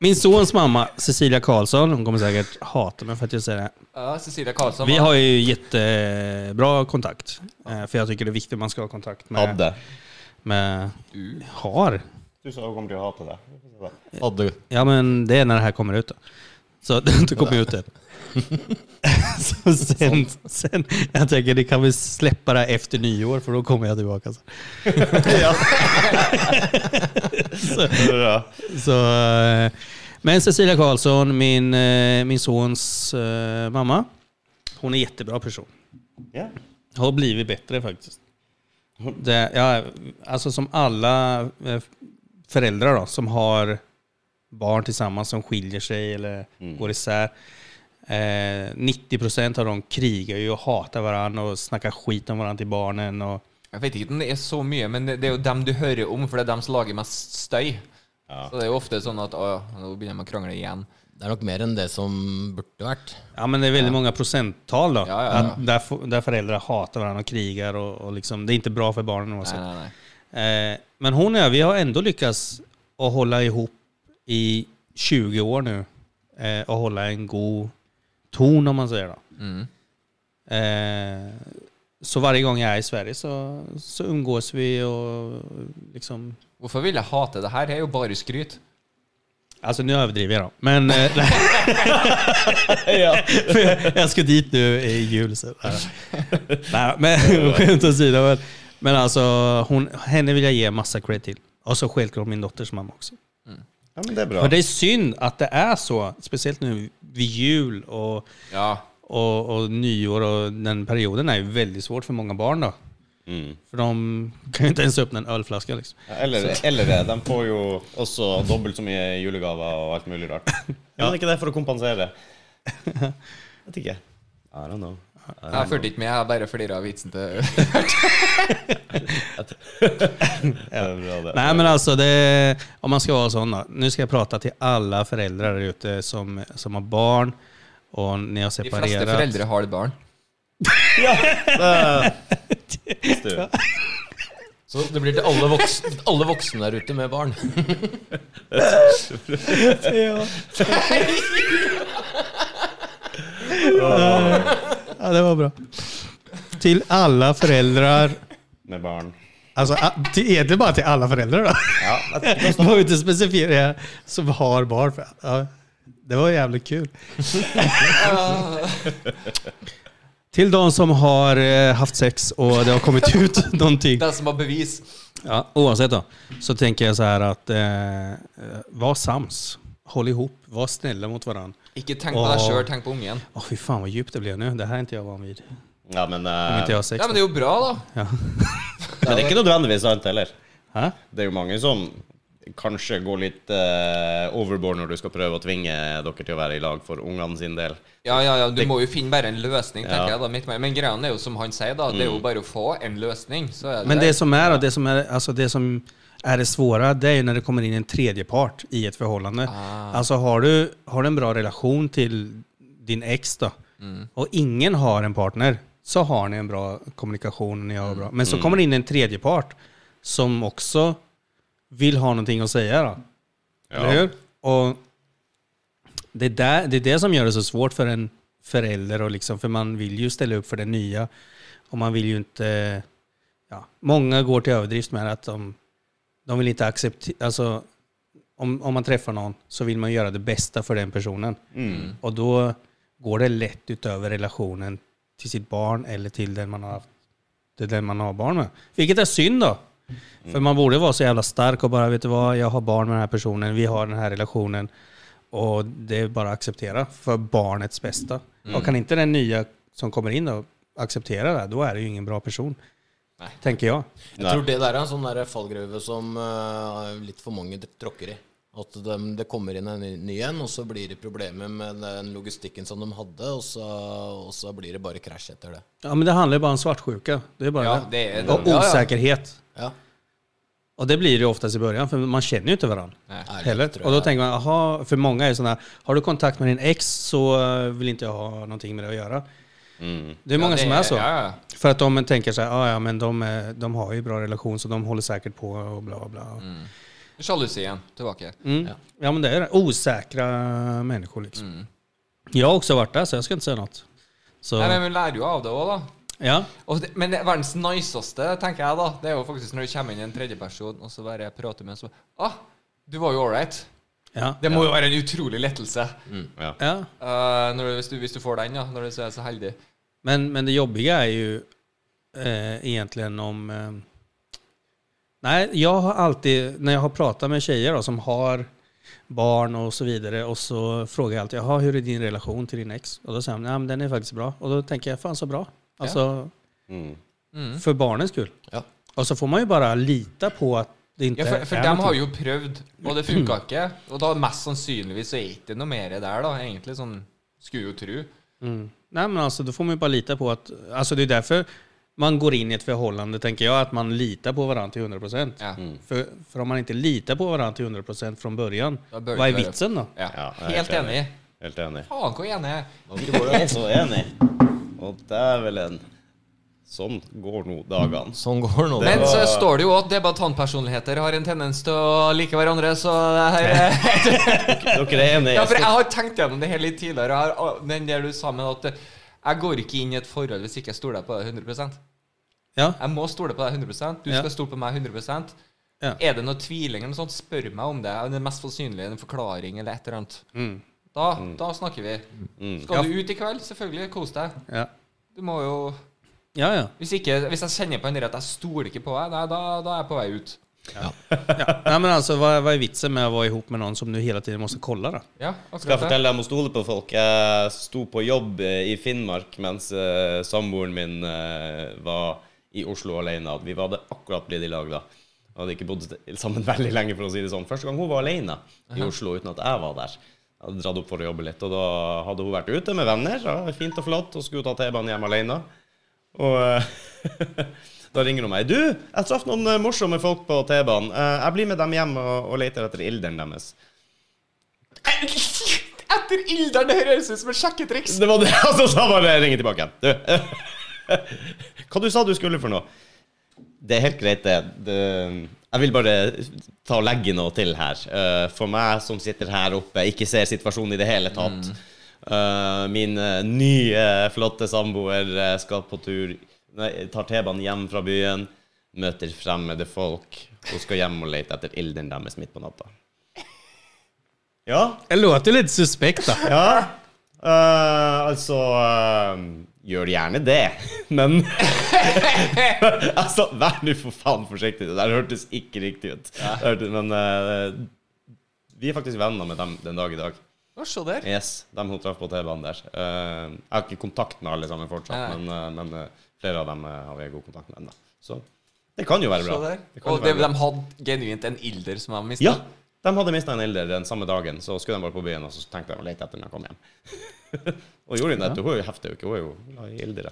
Speaker 1: Min sons mamma, Cecilia Karlsson, hon kommer säkert hata mig för att jag säger det. här.
Speaker 3: Ja, Cecilia Karlsson.
Speaker 1: Vi
Speaker 3: hva?
Speaker 1: har ju jättebra kontakt. eh, För jag tycker det är viktigt man ska ha kontakt med...
Speaker 4: Hadde.
Speaker 1: med har?
Speaker 4: Du sa hun kommer til å hate deg.
Speaker 5: Hadde
Speaker 1: Ja, men det är när det här kommer ut. Då. Så det har inte kommit ut än. Så sen, sen, jag tänker det kan vi släppa det här efter nyår för då kommer jag tillbaka. Så,
Speaker 4: Bra.
Speaker 1: så, eh, men Cecilia Karlsson, min, eh, min sons eh, mamma, hon är en jättebra person.
Speaker 4: Ja.
Speaker 1: har blivit bättre faktiskt. Det, ja, alltså som alla eh, föräldrar då, som har barn tillsammans som skiljer sig eller
Speaker 3: Mm.
Speaker 1: går isär. Eh, 90% av dem krigar ju och hatar varandra och snackar skit om varandra till barnen. Och,
Speaker 3: Jeg vet ikke om det er så mye, men det det er jo dem du hører om, for det er dem som lager mest støy.
Speaker 4: Ja.
Speaker 3: Så det er jo ofte sånn at å ja, nå begynner de å krangle igjen.
Speaker 6: Det er nok mer enn det som burde vært.
Speaker 1: ja, men det är väldigt många procenttal då,
Speaker 3: Ja, ja, ja.
Speaker 1: Att där, fo- där föräldrar hatar varandra och krigar. Och, och liksom, det är inte bra för barnen
Speaker 3: Nei,
Speaker 1: oavsett.
Speaker 3: nei, nei.
Speaker 1: Eh, men hon och jag, vi har ändå lyckats att hålla ihop i 20 år nu. Eh, och hålla en god ton om man säger då.
Speaker 3: Mm.
Speaker 1: Eh, så varje gång jag är i Sverige så, så umgås vi och liksom...
Speaker 3: Hvorfor vil jeg hate det her? Det er jo bare skryt.
Speaker 1: Alltså nu överdriver jag då. Men... Eh, För jag, jag ska dit nu i jul. Så, nej, nej, men skämt åsido. Men, men alltså hon, henne vill jag ge massa cred till. Och så självklart min dotters mamma också.
Speaker 4: ja, men det er
Speaker 1: Men
Speaker 4: bra.
Speaker 1: det är synd att det är så, speciellt nu vid jul och,
Speaker 3: Ja.
Speaker 1: och, och nyår och den perioden är ju väldigt svårt för många barn då.
Speaker 4: Mm.
Speaker 1: För de kan ju inte ens öppna en ölflaska liksom.
Speaker 4: Ja, Eller, eller det. De får jo også dobbelt så mye julegaver og alt mulig rart. Men er ikke det for å kompensere? Vet ikke. I don't know.
Speaker 3: Jeg fulgte ikke med, jeg bare flira av vitsen til
Speaker 4: Det er bra, det.
Speaker 1: Nej men alltså, det, om man ska vara sån då. Nu ska jag prata till alla föräldrar där ute som, som har barn och ni har
Speaker 3: De fleste
Speaker 1: separerat.
Speaker 3: foreldre har et barn.
Speaker 4: Du.
Speaker 5: Så det blir til alle voksne, alle voksne der ute med barn.
Speaker 1: Ja. ja, det var bra. Till alla föräldrar.
Speaker 4: Med barn.
Speaker 1: Alltså, a- till, egentligen bara till alla föräldrar då.
Speaker 4: Ja, jeg
Speaker 1: De behöver inte specificera som har barn. För, ja, det var jävligt kul. Till de som har eh, haft sex och det har kommit ut någonting.
Speaker 3: Den som har bevis.
Speaker 1: Ja, oavsett då, så tänker jag så här att eh, eh, var sams. Håll ihop, var snälla mot varandra.
Speaker 3: Ikke tenk på deg
Speaker 1: Åh.
Speaker 3: sjøl, tenk på ungen.
Speaker 1: Åh fy fan vad djupt det blev nu. Det här är inte jag van vid.
Speaker 4: Ja, men,
Speaker 1: Om
Speaker 4: eh,
Speaker 1: inte jag har sex.
Speaker 3: Ja, men det er jo bra, da.
Speaker 4: men det er ikke nødvendigvis sant heller.
Speaker 1: Hæ?
Speaker 4: Det er jo mange som kanskje går litt eh, overboard når du skal prøve å tvinge dere til å være i lag for ungene sin del.
Speaker 3: Ja, ja, ja, du må jo finne bare en løsning, tenker
Speaker 4: Ja.
Speaker 3: jeg da. Mitt, men greia er jo som han sier, da. Det er jo bare å få en løsning. Så er det
Speaker 1: Mm. Men det som är, då, det som är, alltså det som är det svåra, det är ju när det kommer in en tredje part i ett förhållande. Alltså har du, har du en bra relation till din ex då, och ingen har en partner, så har ni en bra kommunikation. och Ni har bra. Men så kommer det in en tredje part som också vill ha någonting att säga då. Eller hur? Och det, är där, det är det som gör det så svårt för en förälder, och liksom, för man vill ju ställa upp för den nya. Och man vill ju inte... Ja, många går till överdrift med att de, de vill inte acceptera... Alltså, om, om man träffar någon så vill man göra det bästa för den personen. Och då går det lätt utöver relationen till sitt barn eller till den man har, haft- till den man har barn med. Vilket är synd då. För man borde vara så jävla stark och bara, vet du vad, jag har barn med den här personen, vi har den här relationen. Och det är bara att acceptera för barnets bästa.
Speaker 3: Mm.
Speaker 1: Och kan inte den nya som kommer in då acceptera det, här, då är det ju ingen bra person. Tänker jag.
Speaker 6: Jeg tror det der er en sånn der fallgruve som eh, litt for mange tråkker i. At de, det kommer inn en ny- ny en, og så blir det problemer med den logistikken som de hadde, og så, og så blir det bare krasj etter det.
Speaker 1: Ja, men det handlar ju bara om svartsjuka. Det är bara
Speaker 3: Ja,
Speaker 1: det.
Speaker 3: det är
Speaker 1: Och osäkerhet.
Speaker 6: Ja.
Speaker 1: Och det blir det ju oftast i början, för man känner ju inte varandra.
Speaker 6: Ærlig,
Speaker 1: Heller.
Speaker 6: tror jeg.
Speaker 1: Och då tänker man, aha, för många är sådana här, har du kontakt med din ex så eh, vill inte jag ha någonting med det att göra. Det är många som är så.
Speaker 3: Ja, ja.
Speaker 1: För att de tänker så här, ah, ja men de, är- de har ju bra relation så de håller säkert på och bla bla, bla.
Speaker 3: Sjalusi igjen. Tilbake.
Speaker 1: Mm. Ja. men det är det. Osäkra människor liksom. Jag har också varit där så jag ska inte säga något. Så,
Speaker 3: Nei, men Vi lærer jo av det òg, da.
Speaker 1: ja.
Speaker 3: Og det, men det verdens niceste, tenker jeg, da, det er jo faktisk når det kommer inn en tredjeperson, og så bare prater med en som Ah, du var jo all right.
Speaker 1: Ja.
Speaker 3: Det må jo være en utrolig lettelse
Speaker 4: Ja.
Speaker 1: ja.
Speaker 3: eh, når du, hvis, du, hvis du får den, ja. Når du så er så heldig.
Speaker 1: Men, men det jobbiga är ju eh, egentligen om... Eh, nej, jag har alltid, när jag har pratat med tjejer då, som har barn och så vidare och så frågar jag alltid, jaha hur är din relation till din ex? Och då säger de, nej men den är faktiskt bra. Och då tänker jag, fan så bra. Alltså,
Speaker 4: Mm.
Speaker 1: för barnens skull.
Speaker 6: Ja.
Speaker 1: Och så får man ju bara lita på att det inte
Speaker 3: Ja, for, for
Speaker 1: är
Speaker 3: dem
Speaker 1: någonting.
Speaker 3: har jo prøvd, og det funka ikke. Og da mest sannsynligvis så er det ikke noe mer der, da. Egentlig sånn skulle jo tro.
Speaker 1: Mm. Nej men alltså då får man ju bara lita på att, alltså det är därför man går in i ett förhållande tänker jag, att man litar på varandra till 100%.
Speaker 3: Ja.
Speaker 1: För, för om man inte litar på varandra till 100% från början,
Speaker 3: Då börjar
Speaker 1: vad är
Speaker 3: det vara-
Speaker 1: vitsen då?
Speaker 3: Ja.
Speaker 4: Ja, jeg er
Speaker 3: Helt
Speaker 4: helt enig.
Speaker 3: enig.
Speaker 4: Helt enig.
Speaker 3: Faen, hvor enig jeg er.
Speaker 4: Jeg er så enig. Og dævelen. Sånn går nå dagene.
Speaker 6: Sånn går nå.
Speaker 3: Men
Speaker 4: var-
Speaker 3: så står det jo at debattantpersonligheter har en tendens til å like hverandre, så det her
Speaker 4: Dere er enige?
Speaker 3: Ja, for jeg har tenkt gjennom det hele litt tidligere, og jeg har- og den der du sa med at jeg går ikke inn i et forhold hvis ikke jeg stoler på deg 100
Speaker 1: Ja,
Speaker 3: Jeg må stole på deg 100 du
Speaker 1: Ja.
Speaker 3: skal stole på meg 100
Speaker 1: Ja.
Speaker 3: Er det noe tviling eller noe sånt, spør meg om det. Er det mest sannsynlig en forklaring eller et eller annet?
Speaker 4: Mm.
Speaker 3: Da, da snakker vi. Skal du ut i kveld? Selvfølgelig. Kos deg.
Speaker 1: ja,
Speaker 3: Du må jo
Speaker 1: ja. ja.
Speaker 3: Hvis, ikke, hvis jeg kjenner på en der at jag stoler ikke på deg, nei, da, da er jeg på vei ut.
Speaker 1: ja. Nej, men alltså, vad, vad är vitsen med att vara ihop med någon som du hela tiden måste kolla då?
Speaker 3: Ja,
Speaker 4: Skal jeg
Speaker 3: akkurat det.
Speaker 4: fortelle deg om å stole på folk? Jeg sto på jobb eh, i Finnmark mens eh, samboeren min eh, var i Oslo alene. Vi hadde akkurat blitt i lag da. Vi hadde ikke bodd st- sammen veldig lenge, for å si det sånn. Første gang hun var alene i Oslo uten at jeg var der. Jeg hadde dratt opp for å jobbe litt, og da hadde hun vært ute med venner. Ja, fint og flott, og skulle ta T-banen hjem alene. Og eh, da ringer hun meg. Du, jeg traff noen eh, morsomme folk på T-banen. Eh, Jeg blir med dem hjem og, og leter etter ilderen deres.
Speaker 3: Etter Ilderen det høres ut som et sjekketriks.
Speaker 4: Det var det, altså, så bare ringe tilbake. Du. Hva du sa du skulle for noe? Det er helt greit, det. det jeg vil bare ta og legge noe til her. Eh, For meg som sitter her oppe, ikke ser situasjonen i det hele tatt. Eh, Min eh, nye, flotte samboer eh, skal på tur, nei, tar T-banen hjem fra byen, møter fremmede folk og skal hjem og lete etter ilden deres midt på natta. Ja,
Speaker 1: Det låter lite suspekt då.
Speaker 4: ja. eh, altså eh, Gjør gjerne det, men alltså, Altså, vær nå for faen forsiktig. Det der hørtes ikke riktig ut. Det hørtes- Men eh, vi er faktisk venner med dem den dag i dag.
Speaker 3: Å, Se der.
Speaker 4: Yes, dem hun traff på T-banen der. Eh, jeg har ikke kontakt med alle sammen fortsatt,
Speaker 3: Nei.
Speaker 4: men, eh, men eh, flere av dem eh, har vi god kontakt med ennå. Så det kan jo være
Speaker 3: Se
Speaker 4: bra.
Speaker 3: der.
Speaker 4: Det kan jo
Speaker 3: Og det,
Speaker 4: være bra.
Speaker 3: de hadde genuint en ilder som de mista.
Speaker 4: Ja, de hadde mista en ilder den samme dagen, så skulle de bare på byen, og så tenkte de å lete etter den når de kom hjem. og gjorde de det. Hun er jo heftig, hun er ikke? Hun er jo glad i ildere.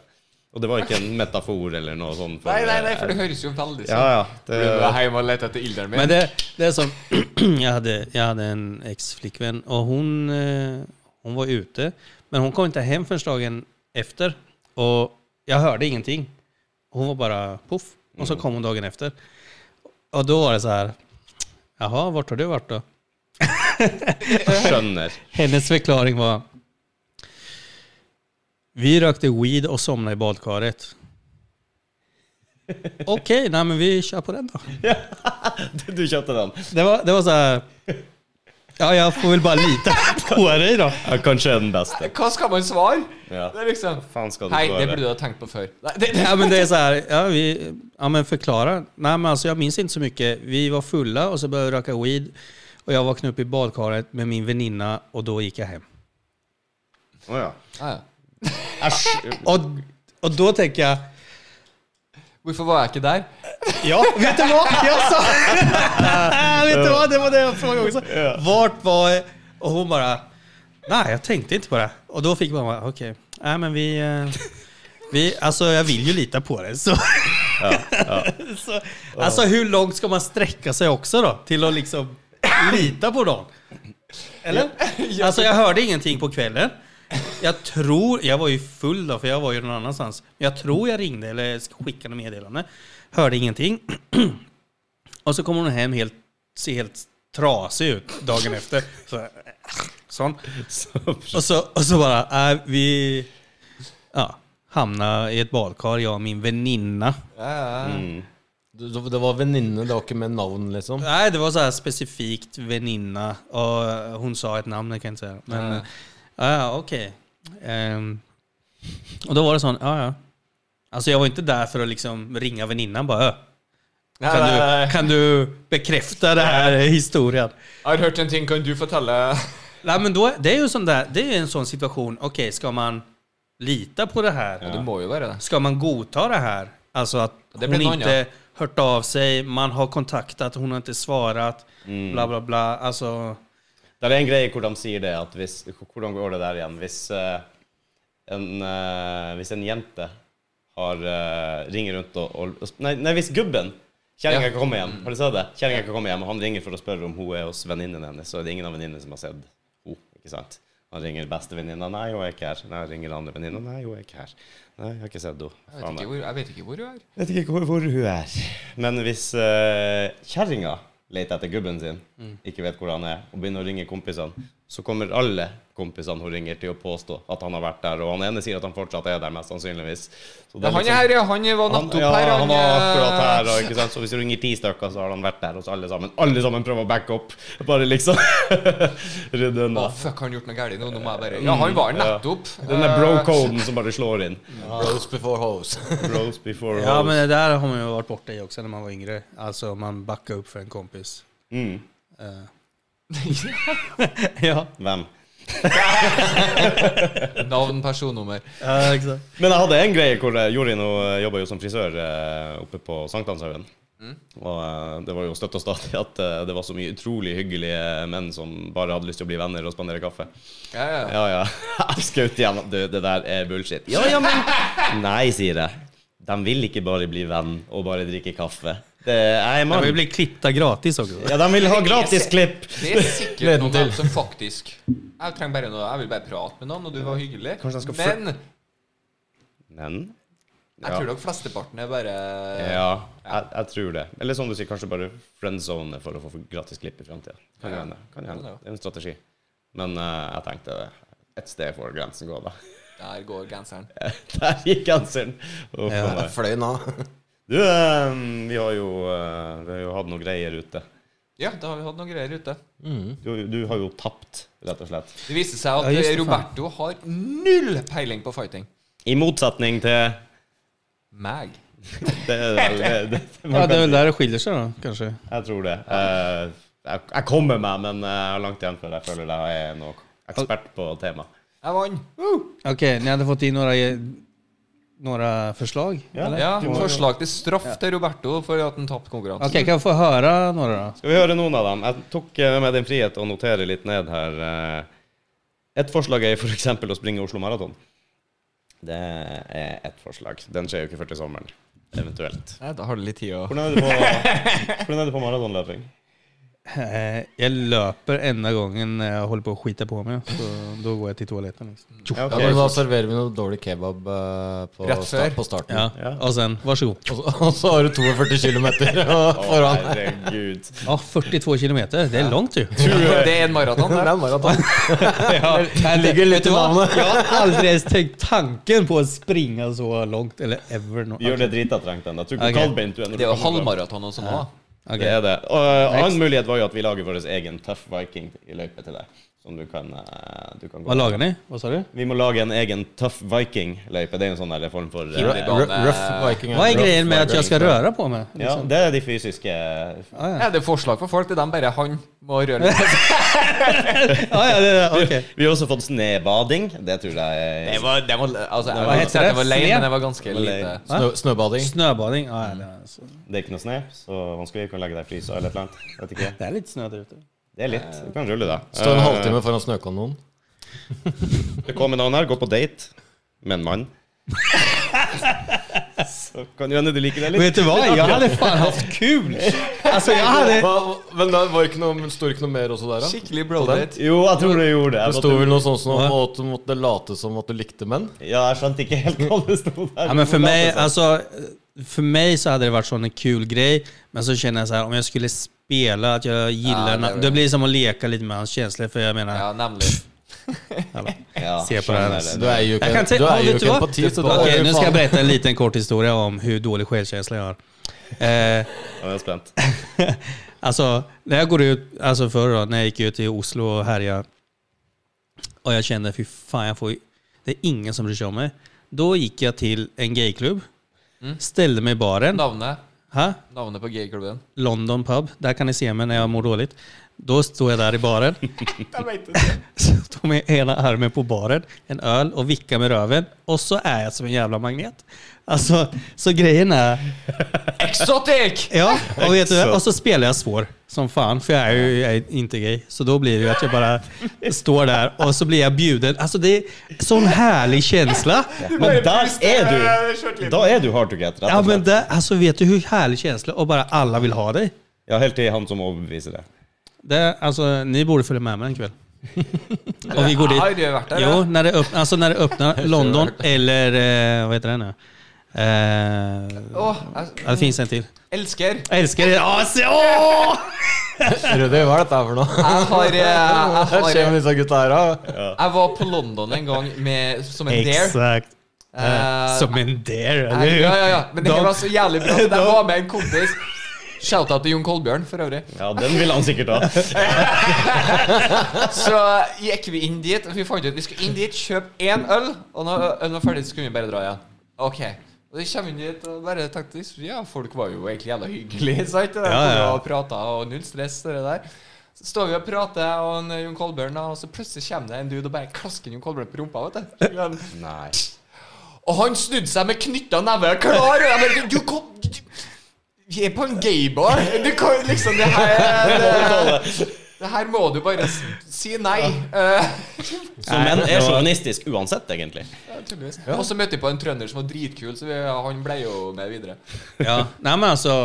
Speaker 4: Og det var ikke en metafor eller noe sånt.
Speaker 3: Nei, nei, nei, for det høres jo veldig
Speaker 4: Ja,
Speaker 3: sånn ut.
Speaker 4: ja.
Speaker 3: Du er
Speaker 4: Det,
Speaker 3: hjemme og leter etter ilderen min.
Speaker 1: Men det, det är som, jag hade, jag hade en ex-flickvän och hon, eh, hon var ute, men hon kom inte hem förrän dagen efter. Och jag hörde ingenting. Hon var bara poff. Och så kom hon dagen efter. Och då var det så här, jaha, vart har du varit då?
Speaker 4: skjønner.
Speaker 1: Hennes förklaring var, vi rökte weed och somnade i badkaret. OK, nei, men vi kjører på den, da.
Speaker 4: Du, du kjøpte den.
Speaker 1: Det var, det var så här, Ja, jag får väl bara lita på dig då.
Speaker 4: Ja, kanskje den beste.
Speaker 3: Hva skal man svare?
Speaker 4: Ja.
Speaker 3: Det er liksom
Speaker 4: Faen skal du
Speaker 3: Hei, det
Speaker 4: svare.
Speaker 3: burde du ha tenkt på før. Nei, det, det.
Speaker 1: Ja, men det är så här, ja, vi, ja men förklara. Nej men alltså jag minns inte så mycket. Vi var fulla och så började vi röka weed. Och jag vaknade upp i badkaret med min väninna och då gick jag hem.
Speaker 4: Å ja.
Speaker 3: Ah, ja.
Speaker 4: Æsj.
Speaker 1: Och, och då tänker jag,
Speaker 3: Hvorfor var jeg ikke der?
Speaker 1: ja, vet du vad? Jag sa, vet du vad? Det var det jag frågade också. Vart var, och hon bara, nej jag tänkte inte på det. Och då fick man bara, okej, nej men vi, eh, vi, alltså jag vill ju lita på det. Så. så, alltså hur långt ska man sträcka sig också då? Till att liksom lita på dem? Eller? Alltså jag hörde ingenting på kvällen. Jag tror, jag var ju full då för jag var ju någon annanstans. Men jag tror jag ringde eller skickade meddelande. Hörde ingenting. Och så kommer hon hem helt, ser helt trasig ut dagen efter. Så, äh, sån. Och så, och så bara, äh, vi ja, hamnade i ett badkar, jag och min väninna.
Speaker 3: Ja, ja.
Speaker 6: Det det var venninne, det var ikke med navn, liksom.
Speaker 1: Nej, det var så här specifikt väninna och hon sa ett namn, jag kan inte säga. Men,
Speaker 3: Ja.
Speaker 1: ja, ja okej. Ehm, och då var det sån, ja, ja. Alltså jag var inte där för att liksom ringa väninnan bara, "Ö,
Speaker 3: Nei,
Speaker 1: kan
Speaker 3: nei, nei.
Speaker 1: du, kan du bekräfta det här historien?
Speaker 3: Jeg har hørt en ting, kan du fortelle?
Speaker 1: Nej, men då, det är ju sån där, det är ju en sån situation, okej, ska man lita på det här?
Speaker 3: Det må jo være det.
Speaker 1: Ska man godta det här? Alltså att
Speaker 3: Det
Speaker 1: hon
Speaker 3: blir någon,
Speaker 1: inte hört av sig, man har kontaktat, hon har inte svarat,
Speaker 3: Mm.
Speaker 1: bla bla bla. Alltså,
Speaker 4: Det er en greie hvor de sier det, at hvis, hvordan går det der igjen? Hvis, eh, en, eh, hvis en jente har, eh, ringer rundt og, og og- Nei, nei hvis gubben Kjerringa
Speaker 3: Ja.
Speaker 4: kan komme hjem. Har du sett det? Kjerringa kan komme hjem, og han ringer for å spørre om hun er hos venninnen hennes. Så er det ingen av venninnene som har sett henne. Ikke sant? Han ringer bestevenninna. 'Nei, hun er ikke her.' Nei, ringer andre venninna. 'Nei, hun er ikke her.' Nei, jeg har ikke sett henne.
Speaker 3: Jeg vet
Speaker 4: Faen,
Speaker 3: ikke hvor, jeg vet ikke hvor du er.
Speaker 4: jeg vet ikke hvor, hvor hun er. Men hvis uh, kjerringa leter etter gubben sin, ikke vet hvor han er, og begynner å ringe kompisene, så kommer alle kompisene hun ringer, til å påstå at han har vært der. Og han ene sier at han fortsatt er der, mest sannsynligvis. Så det er
Speaker 3: Han er
Speaker 4: liksom-
Speaker 3: her, ja. Han var
Speaker 4: han,
Speaker 3: nettopp
Speaker 4: ja,
Speaker 3: her.
Speaker 4: han var akkurat
Speaker 3: eh,
Speaker 4: her, og, ikke sant? så hvis du ringer ti stykker, så har han vært der hos alle sammen. Alle sammen prøver å backe opp. Bare liksom rydde
Speaker 3: Å,
Speaker 4: unna.
Speaker 3: fuck, han gjort noe galt nå. Nå må jeg bare Ja, han var her nettopp.
Speaker 4: Mm, Den der
Speaker 3: Eh,
Speaker 4: bro-koden som bare slår inn.
Speaker 6: Rose before hose.
Speaker 4: Bros before
Speaker 1: Ja,
Speaker 4: hoes.
Speaker 1: men det där har man ju varit borta i också när man var yngre. Alltså man backar upp för en kompis.
Speaker 4: Mm.
Speaker 1: ja,
Speaker 4: Hvem?
Speaker 3: Navn, personnummer.
Speaker 1: ja, exakt.
Speaker 4: Men jeg hadde en greie hvor eh, Jorin hun jobba jo som frisør eh, oppe på Sankthanshaugen. Og eh, det var jo støtt og stadig at eh, det var så mye utrolig hyggelige menn som bare hadde lyst til å bli venner og spandere kaffe.
Speaker 3: Ja, ja.
Speaker 4: Ja, ja. Jeg skjøt igjen. Du, det der er bullshit. Ja, ja, men Nei, sier jeg. De vil ikke bare bli venn og bare drikke kaffe. Det, jeg er
Speaker 1: Man vill
Speaker 4: mann.
Speaker 1: bli klippta gratis också.
Speaker 4: Ja, de vil ha gratis klipp.
Speaker 3: Det er sikkert noen av dem som faktisk Jeg trenger bare noe, jeg vil bare prate med noen, og du var hyggelig.
Speaker 4: Kanskje jeg skal fly-
Speaker 3: Men jeg
Speaker 4: Men Ja.
Speaker 3: tror nok flesteparten er bare
Speaker 4: Ja, jeg, jeg Eh, tror det. Eller som du sier, kanskje bare friendzone for å få gratis klipp i framtida. Kan jo hende. Kan jo hende. Det er en strategi. Men eh, jeg tenkte et sted får grensen gå, da.
Speaker 3: Der går genseren.
Speaker 4: Der gikk grensen! Uff,
Speaker 1: Ja.
Speaker 4: meg.
Speaker 6: Fløy nå.
Speaker 4: Du, eh, vi har jo eh, Vi har jo hatt noen greier ute.
Speaker 3: Ja, da har vi hatt noen greier ute.
Speaker 4: Du, du har jo tapt, rett og slett.
Speaker 3: Det viser seg at
Speaker 1: Ja, just det, faen.
Speaker 3: Roberto har null peiling på fighting.
Speaker 4: I motsetning til
Speaker 3: Meg.
Speaker 4: det, det, det,
Speaker 1: Ja, det är väl där det skiljer sig då, kanske.
Speaker 4: Jeg tror det. Eh, jeg, jeg kommer meg, men eh, jeg har langt igjen før jeg føler jeg er noe ekspert på temaet.
Speaker 3: Jeg vant. Woo!
Speaker 1: Okej, ni hade fått in några, några förslag? eller?
Speaker 3: Ja, forslag til straff til Roberto for at han tapte
Speaker 1: Okej,
Speaker 3: konkurransen.
Speaker 1: kan jag få höra några då?
Speaker 4: Skal vi høre noen av dem? Jeg tok eh, med meg din frihet og notere litt ned her. eh. Et forslag er f.eks. å springe Oslo Maraton. Det er ett forslag. Den skjer jo ikke før til sommeren, eventuelt.
Speaker 3: Nei, da har du litt tid å
Speaker 4: Hvordan er du på, hvordan er du på maratonløping?
Speaker 1: Eh, Jeg løper enda gangen når jeg holder på å skite på meg. Så da går jeg til toalettet. Liksom.
Speaker 4: Ja,
Speaker 6: Ja, men
Speaker 4: ok.
Speaker 6: da serverer vi noe dårlig kebab eh, på,
Speaker 3: Rett før.
Speaker 6: sta- på starten.
Speaker 1: Ja, og sen, vær så god.
Speaker 6: Og, så, og så har du 42 km
Speaker 4: Å,
Speaker 6: foran.
Speaker 4: herregud.
Speaker 1: Ja, 42 kilometer, det er langt, jo.
Speaker 3: Det er en maraton. det.
Speaker 1: Ja, det
Speaker 6: ligger litt i navnet.
Speaker 1: Jeg har aldri ens tenkt tanken på å springe så langt, eller ever. nå.
Speaker 4: Gjør det dritatrengt den. da. Tror ikke
Speaker 1: Ok.
Speaker 4: hvor kaldbeint du er. når
Speaker 3: Det er
Speaker 4: du
Speaker 3: jo
Speaker 4: kommer fram.
Speaker 3: halvmaraton og sånn òg.
Speaker 1: Ok.
Speaker 4: Det er det. Og uh, annen mulighet var jo at vi lager vår egen Tough Viking i løype til deg. Som du kan, uh, du kan
Speaker 1: Hva
Speaker 4: gå
Speaker 1: lager ni? Hva sa du?
Speaker 4: Vi må lage en egen Tough Viking-løype. Det er jo en sånn der form for uh,
Speaker 3: Hindre.
Speaker 6: Rough Viking.
Speaker 1: Hva er greien med at jeg skal røre på meg?
Speaker 4: Ja,
Speaker 1: Liksom? Ah,
Speaker 4: det er de fysiske
Speaker 3: Ja, det er forslag for folk. Det er dem bare han må røre litt.
Speaker 1: Ah, Ja, ja, det, ok.
Speaker 4: Vi har også fått snøbading. Det tror jeg
Speaker 3: Det var, det var, altså, jeg
Speaker 1: Hva
Speaker 3: vil
Speaker 1: heter
Speaker 3: ikke si at
Speaker 1: det?
Speaker 3: jeg var lei,
Speaker 1: Sne?
Speaker 3: men jeg var ganske
Speaker 4: var lei.
Speaker 3: lite.
Speaker 6: Snø, snøbading.
Speaker 1: Snøbading? Ah, Ja, ja, det, er, så.
Speaker 4: Det er ikke noe snø, så vanskelig. Du kan legge deg i frysa eller et eller annet. Vet ikke.
Speaker 1: det er litt snø der ute.
Speaker 4: Det er
Speaker 3: Eh,
Speaker 4: litt. Du kan rulle, da.
Speaker 6: Stå en
Speaker 4: Uh,
Speaker 6: halvtime foran snøkanonen.
Speaker 4: Det kommer noen her, gå på date med en mann. Så kan jo hende du liker det litt.
Speaker 1: Vet du hva, jeg hadde faen hatt kul! Alltså, Altså, jeg hadde
Speaker 6: Hva- Men det var ikke noe, sto det ikke noe mer også der, da?
Speaker 3: Skikkelig brodate.
Speaker 4: Jo, jeg tror du gjorde det.
Speaker 6: Det
Speaker 4: Jeg
Speaker 6: sto
Speaker 4: måtte-
Speaker 6: vel noe sånt som at du måtte late som at du likte menn?
Speaker 4: Ja, jeg skjønte ikke helt hva det sto der.
Speaker 1: Ja, men för mig, alltså, för mig så hade det varit sån en kul grej, men så känner jag så här, om jag skulle spela att jag gillar,
Speaker 3: Ja,
Speaker 1: na-
Speaker 3: det är-
Speaker 1: det blir som att leka lite med hans känslor, för jag menar,
Speaker 3: Ja, nemlig.
Speaker 4: Ja,
Speaker 1: se på det här.
Speaker 4: skjønner
Speaker 6: Du er jo
Speaker 1: Jag kan
Speaker 6: ikke,
Speaker 1: säga,
Speaker 6: du
Speaker 1: ja,
Speaker 6: er jo
Speaker 1: vet du
Speaker 6: ikke
Speaker 1: vad?
Speaker 6: empati, så da
Speaker 1: Okej,
Speaker 6: er
Speaker 1: nu
Speaker 6: du
Speaker 1: ska jag
Speaker 6: faen
Speaker 1: berätta en liten kort historia om hur dålig självkänsla jag har. Eh,
Speaker 4: Jeg er spent.
Speaker 1: Alltså, när jag går ut, alltså förr då, när jag gick ut i Oslo och härjade och jag kände fy fan, jag får, ju- det är ingen som bryr sig om mig. Då gick jag till en gayklubb, ställde mig i baren.
Speaker 3: Navnet,
Speaker 1: Ha?
Speaker 3: navnet på gayklubben.
Speaker 1: London pub. Der kan ni se meg når jeg mår dårlig. Da står jeg der i baren. Så tar med ena armen på baren, en øl, og vikker med røven. Og så er jeg som en jævla magnet. Altså, så greien er
Speaker 3: Exotic!
Speaker 1: Ja, og, vet du, og så spiller jeg svår som faen, for jeg er jo jeg er ikke gay. Så da blir det jo at jeg bare står der, og så blir jeg bjuden. Altså, det er sånn herlig følelse.
Speaker 4: Men der er du! Da er du hard to get, rett
Speaker 1: Ja,
Speaker 4: og
Speaker 1: men
Speaker 4: slett.
Speaker 1: det, altså, vet du hvor herlig følelse, og bare alle vil ha deg.
Speaker 4: Ja, helt til han som overbeviser det.
Speaker 1: Det, altså, ni burde følge med meg en kveld. Og vi går dit.
Speaker 3: Har du vært der?
Speaker 1: Jo,
Speaker 3: ja?
Speaker 1: när det, öpp, alltså när det öppnar London eller eh, vad heter det nu? Eh,
Speaker 3: Åh, jeg
Speaker 1: ja, det finns en till.
Speaker 3: elsker.
Speaker 1: Jag älskar det. Ah, se, åh!
Speaker 6: Rudi, hva er dette her for noe?
Speaker 1: Ah,
Speaker 3: Jeg har, eh, jeg,
Speaker 6: Hva
Speaker 3: har,
Speaker 6: skjer med disse gutta her, da?
Speaker 3: jeg var på London en gang med, som en dare.
Speaker 1: Exakt.
Speaker 3: Eh,
Speaker 1: Eh, som en dare, eller hur?
Speaker 3: Ja, ja, ja. Men det
Speaker 1: Da-
Speaker 3: her var så jævlig bra. Jeg var med en kompis. Shout-out til Jon Kolbjørn, for øvrig.
Speaker 4: Ja, den vil han sikkert ha.
Speaker 3: Så gikk vi inn dit, og vi fant ut vi skulle inn dit, kjøpe én øl, og når ølen var ferdig, så kunne vi bare dra igjen. Ok. Og så kommer vi inn dit, og bare tenkte Ja, folk var jo egentlig jævla hyggelige, sant? Og
Speaker 1: Ja, ja.
Speaker 3: Og prata, og null stress, og det der. Så står vi og prater, og en eh, Jon Kolbjørn, da, og så plutselig kommer det en dude og bare klasker Jon Kolbjørn på rumpa, vet du.
Speaker 4: Nei.
Speaker 3: Og han snudde seg med knytta neve klar, og jeg bare Du kom du, Vi er på en gaybar. Du kan liksom Det her det, det her må du bare s- si nei. Eh,
Speaker 4: Så menn er sjåvinistisk uansett, egentlig.
Speaker 3: Ja, tydeligvis. Og så møtte vi på en trønder som var dritkul, så vi, han ble jo med videre.
Speaker 1: Ja. Nej, men alltså,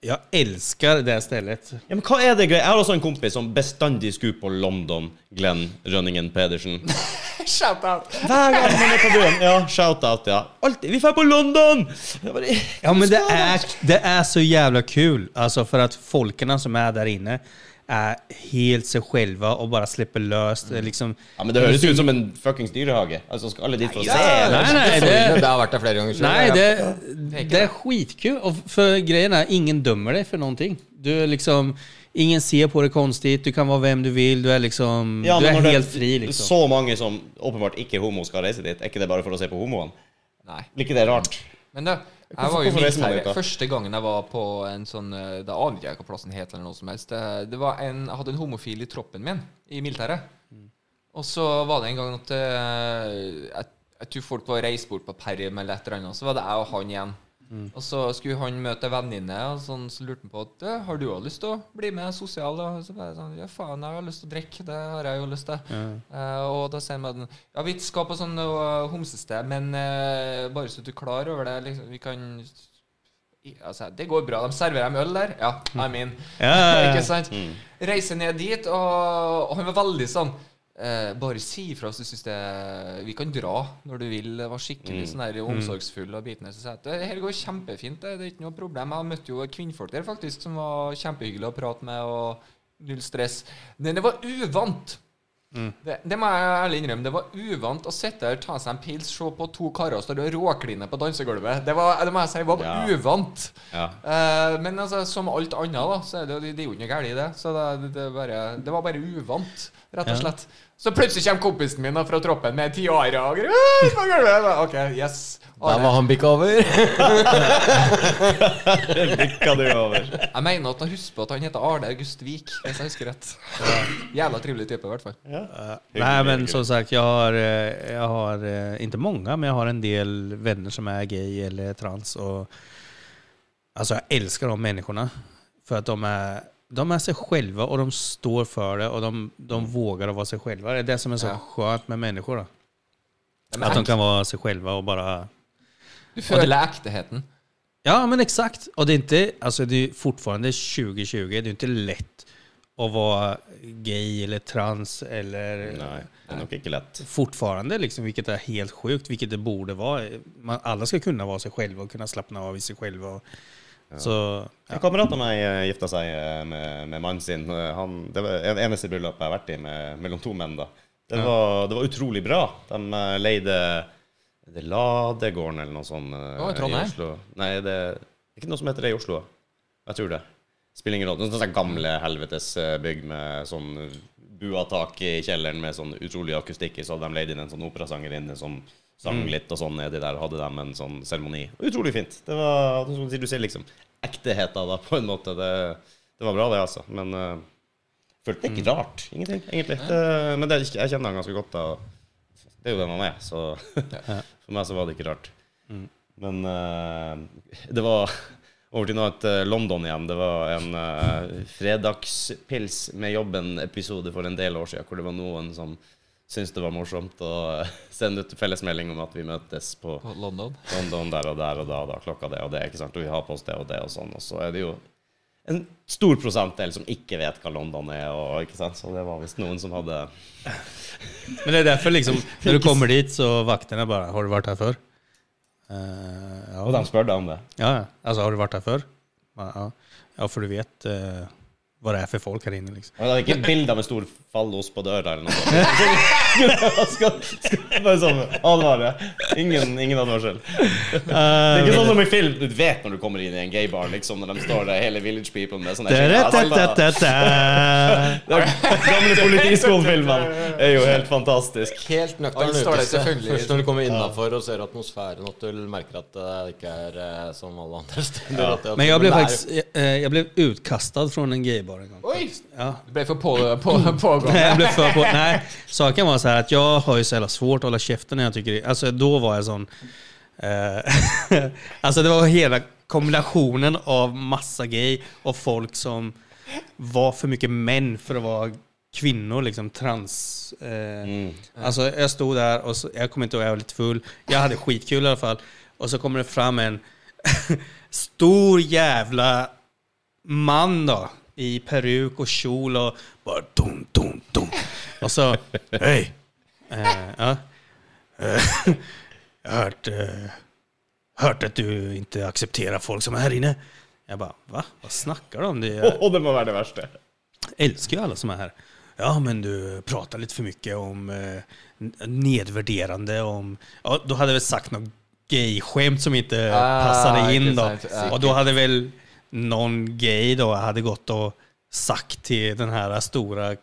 Speaker 1: jag älskar det här stället.
Speaker 4: Ja, men hva er det greia? Jeg har også en kompis som bestandig skulle på London, Glenn Rønningen Pedersen.
Speaker 3: Shout out.
Speaker 4: Hver gang han er på byen. Ja, shout-out, ja. Alltid. Vi drar på London! Det var det.
Speaker 1: Ja, men det är, det är så jävla kul. Alltså för att folkerna som är där inne är helt sig själva och bara släpper löst.
Speaker 4: Mm.
Speaker 1: Det är Liksom,
Speaker 4: Ja, men det høres jo ut som en fuckings dyrehage. Altså, skal alle dit for å se? eller?
Speaker 1: nej, nej, det,
Speaker 6: Det har vært der flere ganger. selv.
Speaker 1: Nej, det, det är skitkul. Och för grejen är, ingen dömer dig för någonting. Du är liksom, ingen ser på dig konstigt, du kan vara vem du vill, du är liksom,
Speaker 4: Ja,
Speaker 1: du
Speaker 4: men
Speaker 1: är
Speaker 4: når det er
Speaker 1: helt fri liksom.
Speaker 4: Så mange som åpenbart ikke er homo skal reise dit, er ikke det bare for å se på homoene?
Speaker 3: Nei.
Speaker 4: Blir ikke det rart?
Speaker 3: Men det, jeg
Speaker 4: Hvorfor-
Speaker 3: var jo
Speaker 4: hvorfor reiser man dit,
Speaker 3: militær
Speaker 4: da?
Speaker 3: første gangen jeg var på en sånn eh, Da aner jeg ikke hva plassen het, eller noe som helst. Det, det var en, jeg hadde en homofil i troppen min i militæret.
Speaker 4: Mm.
Speaker 3: Og så var det en gang at eh, jeg, jeg tror folk var reist bort på perm eller et eller annet, så var det jeg og han igjen. Og så skulle han møte en venninne, og sånn, så lurte han på at «Du, har du også lyst til å bli med sosial. da?» Og så bare sånn, ja faen, jeg har lyst til å drikke, det har jeg jo lyst til. Eh, og da sier han meg den, ja vi skal på sånn eh, homsested, men eh, bare så du er klar over det, liksom, vi kan i- altså, Det går bra. De serverer dem øl der. Ja, I'm in.
Speaker 1: Ja, Mm. ja, ja.
Speaker 3: Ikke sant? Reise ned dit, og, og han var veldig sånn eh, bare si ifra hvis du syns det Vi kan dra når du vil. Det var skikkelig
Speaker 1: Mm.
Speaker 3: sånn der omsorgsfull og bitende. Så sa jeg at det her går kjempefint, det, det er ikke noe problem. Jeg møtte jo kvinnfolk der faktisk som var kjempehyggelige å prate med, og null stress. Men det var uvant.
Speaker 1: Mm.
Speaker 3: Det, det må jeg ærlig innrømme. Det var uvant å sitte her, ta seg en pils, se på to karer stå og råkline på dansegulvet. Det, var, det må jeg si var
Speaker 4: Ja.
Speaker 3: uvant.
Speaker 4: Ja.
Speaker 3: Eh, men altså, som alt annet, da, så er det, jo- det er jo ikke noe galt i det. Så det, det, er bare, det var bare uvant, rett og slett. Så plutselig kommer kompisen min da, fra troppen med tiara og greier. «Øy, på gulvet!» Jeg bare, OK, yes.
Speaker 6: Der var han bikka over.
Speaker 4: Det bikka du over.
Speaker 3: Jeg mener at jeg husker på at han heter Arne August Vik, hvis jeg husker rett. Jævla trivelig type, i hvert fall.
Speaker 1: Eh, Nej men som sagt, jag har, eh, jag har eh, inte många, men jag har en del vänner som är gay eller trans. Och, alltså jag älskar de människorna. För att de är, de är sig själva och de står för det och de, de vågar att vara sig själva. Det är det som är så
Speaker 3: Ja.
Speaker 1: skönt med människor. Då.
Speaker 3: Ja, men
Speaker 1: Att de
Speaker 3: ek-
Speaker 1: kan vara sig själva och bara
Speaker 3: Du føler ekteheten.
Speaker 1: Ja, men exakt. Och det är inte, alltså det är fortfarande 2020, det är inte lätt att vara gay eller trans eller
Speaker 4: Nei, det er nok ikke lett.
Speaker 1: fortfarande, liksom, vilket är helt sjukt, vilket det borde vara. Man, alla ska kunna vara sig själva och kunna slappna av i sig själva. Och, Så,
Speaker 4: En kamerat av meg eh, gifta seg eh, med, med mannen sin. Eh, Han, det var det eneste bryllupet jeg har vært i med, mellom to menn. da. Det var, det var utrolig bra. De eh, leide det Ladegården eller noe sånt eh,
Speaker 3: Å, i Trondheim?
Speaker 4: Oslo. Nei, det er ikke noe som heter det i Oslo. Jeg tror det. Spiller ingen rolle. Noen sånne gamle helvetes eh, bygg med sånn buatak i kjelleren med sånn utrolig akustikk i, så hadde de leid inn en sånn operasangerinne som sang
Speaker 3: Mm.
Speaker 4: litt og sånn nedi der. Hadde de en sånn seremoni. Utrolig fint. Det var som du sier, du ser liksom ekteheten da, på en måte. Det, det var bra, det, altså. Men eh, følte det ikke
Speaker 3: Mm.
Speaker 4: rart. Ingenting, egentlig. Det, men det, er ikke- jeg kjenner han ganske godt, da. og Det er jo den han er, så for meg så var det ikke rart. Men eh, det var over til noe annet eh, London igjen. Det var en eh, fredagspils med jobben-episode for en del år siden, hvor det var noen som syntes det var morsomt å eh, sende ut fellesmelding om at vi møtes på
Speaker 3: På London.
Speaker 4: London der og der og da, og da klokka det og det, ikke sant? og vi har på oss det og det og sånn. Og så er det jo en stor prosentdel som ikke vet hva London er, og ikke sant? så det var visst noen som hadde
Speaker 1: men det är därför liksom, när du kommer dit så vakterna bara, har du varit här förr? Eh,
Speaker 4: Og de
Speaker 1: ja,
Speaker 4: spør deg om det.
Speaker 1: ja, alltså har du varit här förr? Ja, Ja, ja för du vet eh, vad det är för folk här inne liksom.
Speaker 4: Og det er ikke bilder med stor fallos på døra eller noe sånt. skal, skal bare sånn advare. Ingen, ingen advarsel. Det er ikke sånn som i film. Du vet når du kommer inn i en gaybar, liksom, når de står der, hele Village People med sånne Gamle politiskolefilmer er jo helt fantastisk.
Speaker 6: Helt nøktern
Speaker 3: Alt står der
Speaker 6: utested.
Speaker 3: selvfølgelig.
Speaker 6: Først når du kommer innafor og ser atmosfæren, at du merker at det ikke er eh, som alle andre steder. at det- at
Speaker 1: Men
Speaker 6: det
Speaker 1: jag blev
Speaker 6: er-
Speaker 1: faktiskt, eh, jag blev utkastad från en gaybar en gång.
Speaker 3: Oi!
Speaker 1: Ja.
Speaker 3: Du ble for på, på, pågående.
Speaker 1: Nej, jag blev för på. Nej, saken var så här att jag har ju så jävla svårt att hålla käften när jag tycker det. Alltså då var jag sån... Eh, alltså det var hela kombinationen av massa gay och folk som var för mycket män för att vara kvinnor, liksom trans. Eh,
Speaker 4: Mm.
Speaker 1: Alltså jag stod där och så, jag kommer inte ihåg, jag var lite full. Jag hade skitkul i alla fall. Och så kommer det fram en stor jävla man då i peruk och kjol och bara dum, dum, dum. Och så, hej! Eh, ja. Eh, jag har hört, eh, hört att du inte accepterar folk som är här inne. Jag bara, va? Vad snackar du om? Det är,
Speaker 4: Og det må være det verste.
Speaker 1: älskar ju alla som är här. Ja, men du pratar lite för mycket om eh, n- nedvärderande om... Ja, då hade jag väl sagt något gay-skämt som inte
Speaker 3: Ah,
Speaker 1: passade in då.
Speaker 3: intressant. Ja.
Speaker 1: Och då hade väl någon gay då hade gått och sagt till den här stora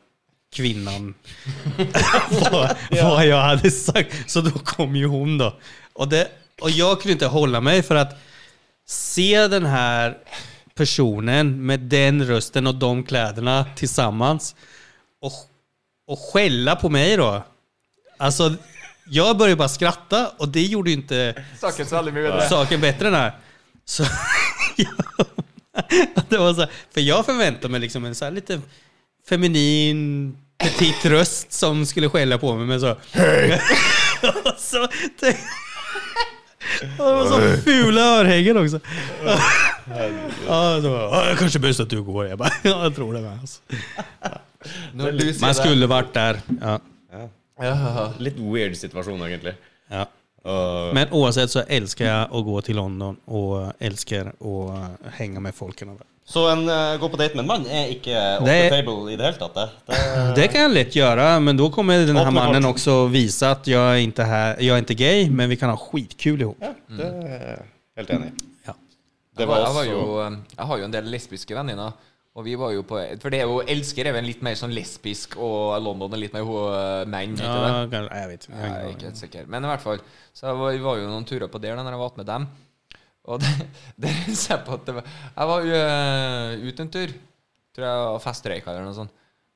Speaker 1: kvinnan vad, vad jag hade sagt. Så då kom ju hon då. Och, det, och jag kunde inte hålla mig för att se den här personen med den rösten och de kläderna tillsammans och, och skälla på mig då. Alltså, jag började bara skratta och det gjorde ju inte
Speaker 3: Snakker så veldig mye bedre.
Speaker 1: saken bättre den här. Så, det var så här, för jag förväntade mig liksom en så här lite feminin, petit röst som skulle skälla på mig, men så... Och så tänk- och det var så fula örhängen också. Ja, det var, «Ja, det er kanskje best at du går. Jeg bare, ja, jeg tror det. Med, altså.
Speaker 3: Når du sier
Speaker 1: Man skulle vært der. Ja.
Speaker 3: det ja.
Speaker 4: Litt weird situasjon, egentlig.
Speaker 1: Ja.
Speaker 4: Og
Speaker 1: Men uansett så elsker jeg å gå til London, og elsker å eh, henge med folkene der.
Speaker 4: så en eh, gå på date med en mann er ikke off
Speaker 1: Det-
Speaker 4: the table i det hele tatt. Det. Det,
Speaker 1: Det kan jeg lett gjøre, men da kommer denne
Speaker 4: Åpne
Speaker 1: mannen
Speaker 4: kort.
Speaker 1: også vise at jeg ikke er, jeg er ikke gay, men vi kan ha skitkul sammen.
Speaker 4: ja, det er helt enig. i.
Speaker 1: Ja.
Speaker 4: Det
Speaker 3: Jeg
Speaker 4: var
Speaker 3: var, jeg, var
Speaker 4: også
Speaker 3: jo, jeg eh, har jo en del lesbiske venninner. Og vi var jo på For det er jo elsker er vel litt mer sånn lesbisk, og London er litt mer ho- menn.
Speaker 1: Ja,
Speaker 3: Ikke det?
Speaker 1: kan- nei, jeg vet ikke. Jeg
Speaker 3: Jeg
Speaker 1: har
Speaker 3: er
Speaker 1: ingen
Speaker 3: ikke
Speaker 1: aning.
Speaker 3: helt sikker. Men i hvert fall, så jeg var, vi var jo noen turer på der da når jeg var med dem. Og det- der ser jeg på at det var Jeg var øh, ute en tur, tror jeg, og festrøyka eller noe sånt.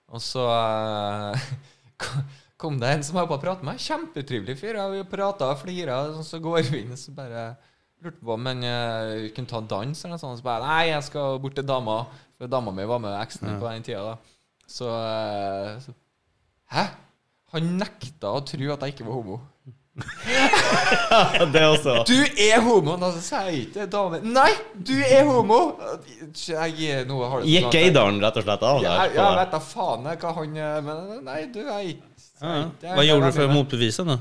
Speaker 3: Og så øh, kom- kom det en som holdt på å prate med meg. Kjempetrivelig fyr. Og vi prata og flira, og så går vi inn, og så bare lurte på om han øh, kunne ta en dans eller noe sånt. Og så bare Nei, jeg skal bort til dama, for dama mi var med eksen min på den tida, da. Så, øh, så Hæ? Han nekta å tro at jeg ikke var homo.
Speaker 4: Det også.
Speaker 3: Du er homo! Da sier jeg ikke dame. Nei, du er homo! Jeg nå har det så
Speaker 4: Gikk
Speaker 3: langt.
Speaker 4: gaydaren rett og slett av
Speaker 3: Ja,
Speaker 4: der?
Speaker 3: jeg, jeg vet da faen jeg hva han eh, Men nei, du er ikke
Speaker 1: Ja, ja.
Speaker 3: jeg er
Speaker 1: Hva
Speaker 3: ikke
Speaker 1: gjorde du for
Speaker 3: venner
Speaker 1: å
Speaker 3: med-
Speaker 1: motbevise den? da?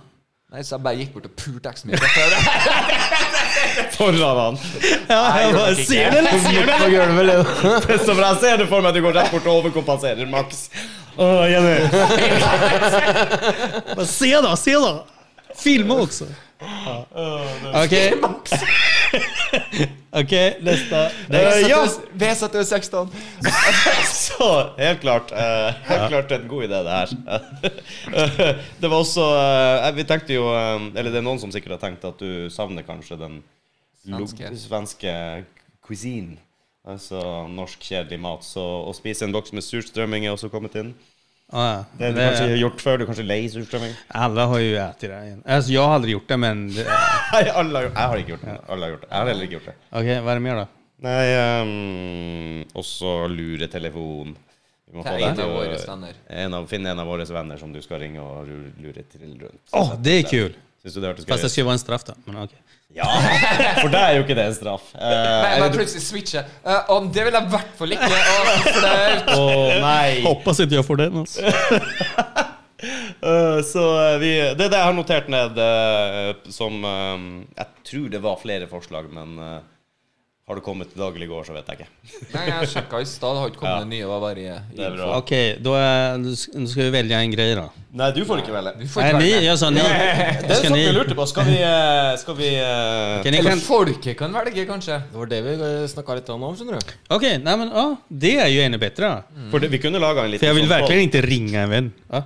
Speaker 3: Nei, så jeg bare gikk bort og pulte eksen min. fra
Speaker 1: Eh,
Speaker 3: før.
Speaker 4: Foran han.
Speaker 3: jeg gjorde nok ikke
Speaker 1: Ser du det? Ser du det?
Speaker 4: På gulvet, Leo. Det er så bra. Jeg ser det for meg at du går rett bort og overkompenserer maks. Åh, Jenny.
Speaker 1: Bare Se da, se da! Filma også. Okej. Okej, nästa.
Speaker 4: Eh, ja.
Speaker 3: VZU 16.
Speaker 4: Så helt klart eh, Helt klart en god idé, det her. Eh, det var også eh, Vi tenkte jo eh, Eller det er noen som sikkert har tenkt at du savner kanskje den lo-
Speaker 3: Svenske.
Speaker 4: svenske cuisine. Altså norsk, kjedelig mat. Så å spise en boks med surstrømming er også kommet inn.
Speaker 1: Ah, Ja,
Speaker 4: Det har du kanskje
Speaker 1: det,
Speaker 4: gjort før. Du er kanskje lei surstrømming?
Speaker 1: alla har ju ätit det. igen. Alltså, jag har aldrig gjort det, men... det-
Speaker 4: Nei, alle har gjort Jeg har ikke gjort det. Alle har gjort det. Jeg har heller ikke gjort det.
Speaker 1: Okej, vad är det mer då?
Speaker 4: Nei, ehm, også luretelefon. Vi må
Speaker 3: Det
Speaker 4: få
Speaker 3: er
Speaker 4: deg
Speaker 3: en
Speaker 4: til
Speaker 3: av
Speaker 4: å-
Speaker 3: våre venner.
Speaker 4: en av- Finne en av våre venner som du skal ringe og ru- lure til rundt.
Speaker 1: Åh, det är kul!
Speaker 4: Syns du det hørtes
Speaker 1: Fast det
Speaker 4: gøy ut?
Speaker 1: ska ju vara en straff då. Men okej.
Speaker 4: Ja! For deg er jo ikke det en straff. Eh,
Speaker 3: Jeg
Speaker 4: eller
Speaker 3: bare
Speaker 4: du-
Speaker 3: plutselig switcher. Eh, og det vil jeg i hvert fall ikke. Å, flaut.
Speaker 4: Åh, nei!
Speaker 1: Hoppas inte jag får den alltså.
Speaker 4: Eh, så eh, vi, det er det jeg har notert ned eh, som eh, Jeg tror det var flere forslag, men eh, har det kommet til daglig i går, så vet jeg ikke.
Speaker 3: Nei, jeg sjekka i stad, det har ikke kommet noen nye. Det var bare i-
Speaker 4: Det er bra.
Speaker 1: Okej, då, är, då ska- då ska vi välja en grej då.
Speaker 4: Nei, du får ikke velge.
Speaker 3: Du får ikke
Speaker 1: Nej,
Speaker 3: være
Speaker 1: ni,
Speaker 3: med.
Speaker 1: jag sa ni.
Speaker 4: Det er
Speaker 1: Ska
Speaker 4: sånt jeg
Speaker 1: ni...
Speaker 4: lurte på. Skal vi, eh, skal vi eh,
Speaker 1: Okej, ni
Speaker 3: Eller
Speaker 1: kan...
Speaker 3: folket kan velge, kanskje.
Speaker 6: Det var det vi snakka litt om, skjønner du.
Speaker 1: Okej, nej men ja, det är ju ännu bättre. då.
Speaker 4: For det, vi kunne laga en liten
Speaker 1: För jag vill
Speaker 4: sånn poll.
Speaker 1: verkligen inte ringa en vän. Ja.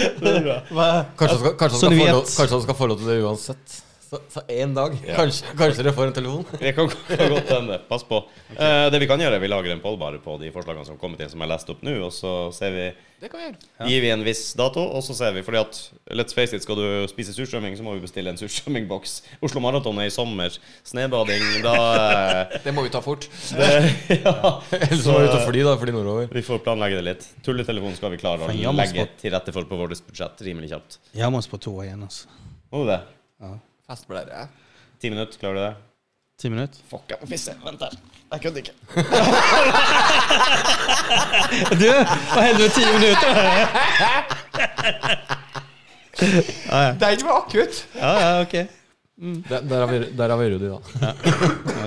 Speaker 6: Kanskje han skal, kanskje han
Speaker 1: Så du
Speaker 6: skal, få,
Speaker 1: vet.
Speaker 6: lov, kanskje han skal få lov til det uansett. Så, så en dag. Kanskje, kanskje dere får en telefon.
Speaker 4: Det kan kan godt hende. Pass på. Eh, det vi kan gjøre, er vi lager en poll bare på de forslagene som har kommet inn, som jeg leste opp nå, og så ser vi
Speaker 3: Det kan vi gjøre.
Speaker 4: Gir vi en viss dato, og så ser vi. Fordi at let's face it, skal du spise surstrømming, så må vi bestille en surstrømmingboks. Oslo Maraton er i sommer. Snøbading, da eh,
Speaker 3: Det må vi ta fort.
Speaker 4: det, Ja.
Speaker 6: Eller så må du ut og fly, da. Fly nordover.
Speaker 4: Vi får planlegge det litt. Tulletelefonen skal vi klare
Speaker 1: Faen,
Speaker 4: å
Speaker 1: jeg må
Speaker 4: legge til rette for på vårt budsjett rimelig kjapt.
Speaker 1: Jag måste på toa igen alltså.
Speaker 4: Må du det?
Speaker 3: Festblære.
Speaker 4: Ti minutter, klarer du det?
Speaker 1: Tio minuter.
Speaker 4: Fuck, jeg må pisse. Vent der. Jeg kødder ikke.
Speaker 1: Du, hva hender med ti minutter?
Speaker 3: Den var akutt!
Speaker 1: Ja, ja, ok.
Speaker 6: Der, der, har vi, der har vi Rudi, da.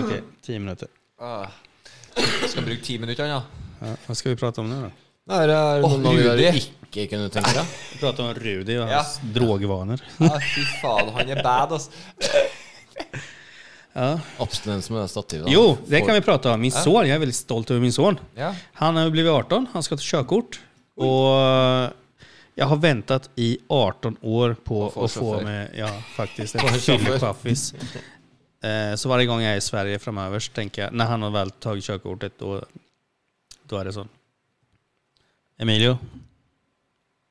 Speaker 1: Ok, ti minutter.
Speaker 3: Ah. Skal bruke ti minutter, ja.
Speaker 1: Ja, hva skal vi prate om nå, da?
Speaker 6: Nei, er det
Speaker 3: Åh,
Speaker 6: noen av dere
Speaker 3: Rudi.
Speaker 6: ikke kunne tenke deg?
Speaker 1: Vi prater om Rudi og
Speaker 3: hans
Speaker 1: hans drogevaner.
Speaker 3: ja fy faen, han er bad, ass.
Speaker 6: Abstinens med stativet. da.
Speaker 1: Jo, det kan vi prate om. Min son, jeg er veldig stolt over min son.
Speaker 3: Ja.
Speaker 1: Han er jo blitt 18, han skal ta körkort. Og jeg har ventet i 18 år på å få
Speaker 3: sjåfør.
Speaker 1: med ja, faktisk, en fyllechaffis. Eh, Så hver gang jeg er i Sverige fremover, så tenker jeg, når han har vel tatt körkortet, da da er det sånn. Emilio,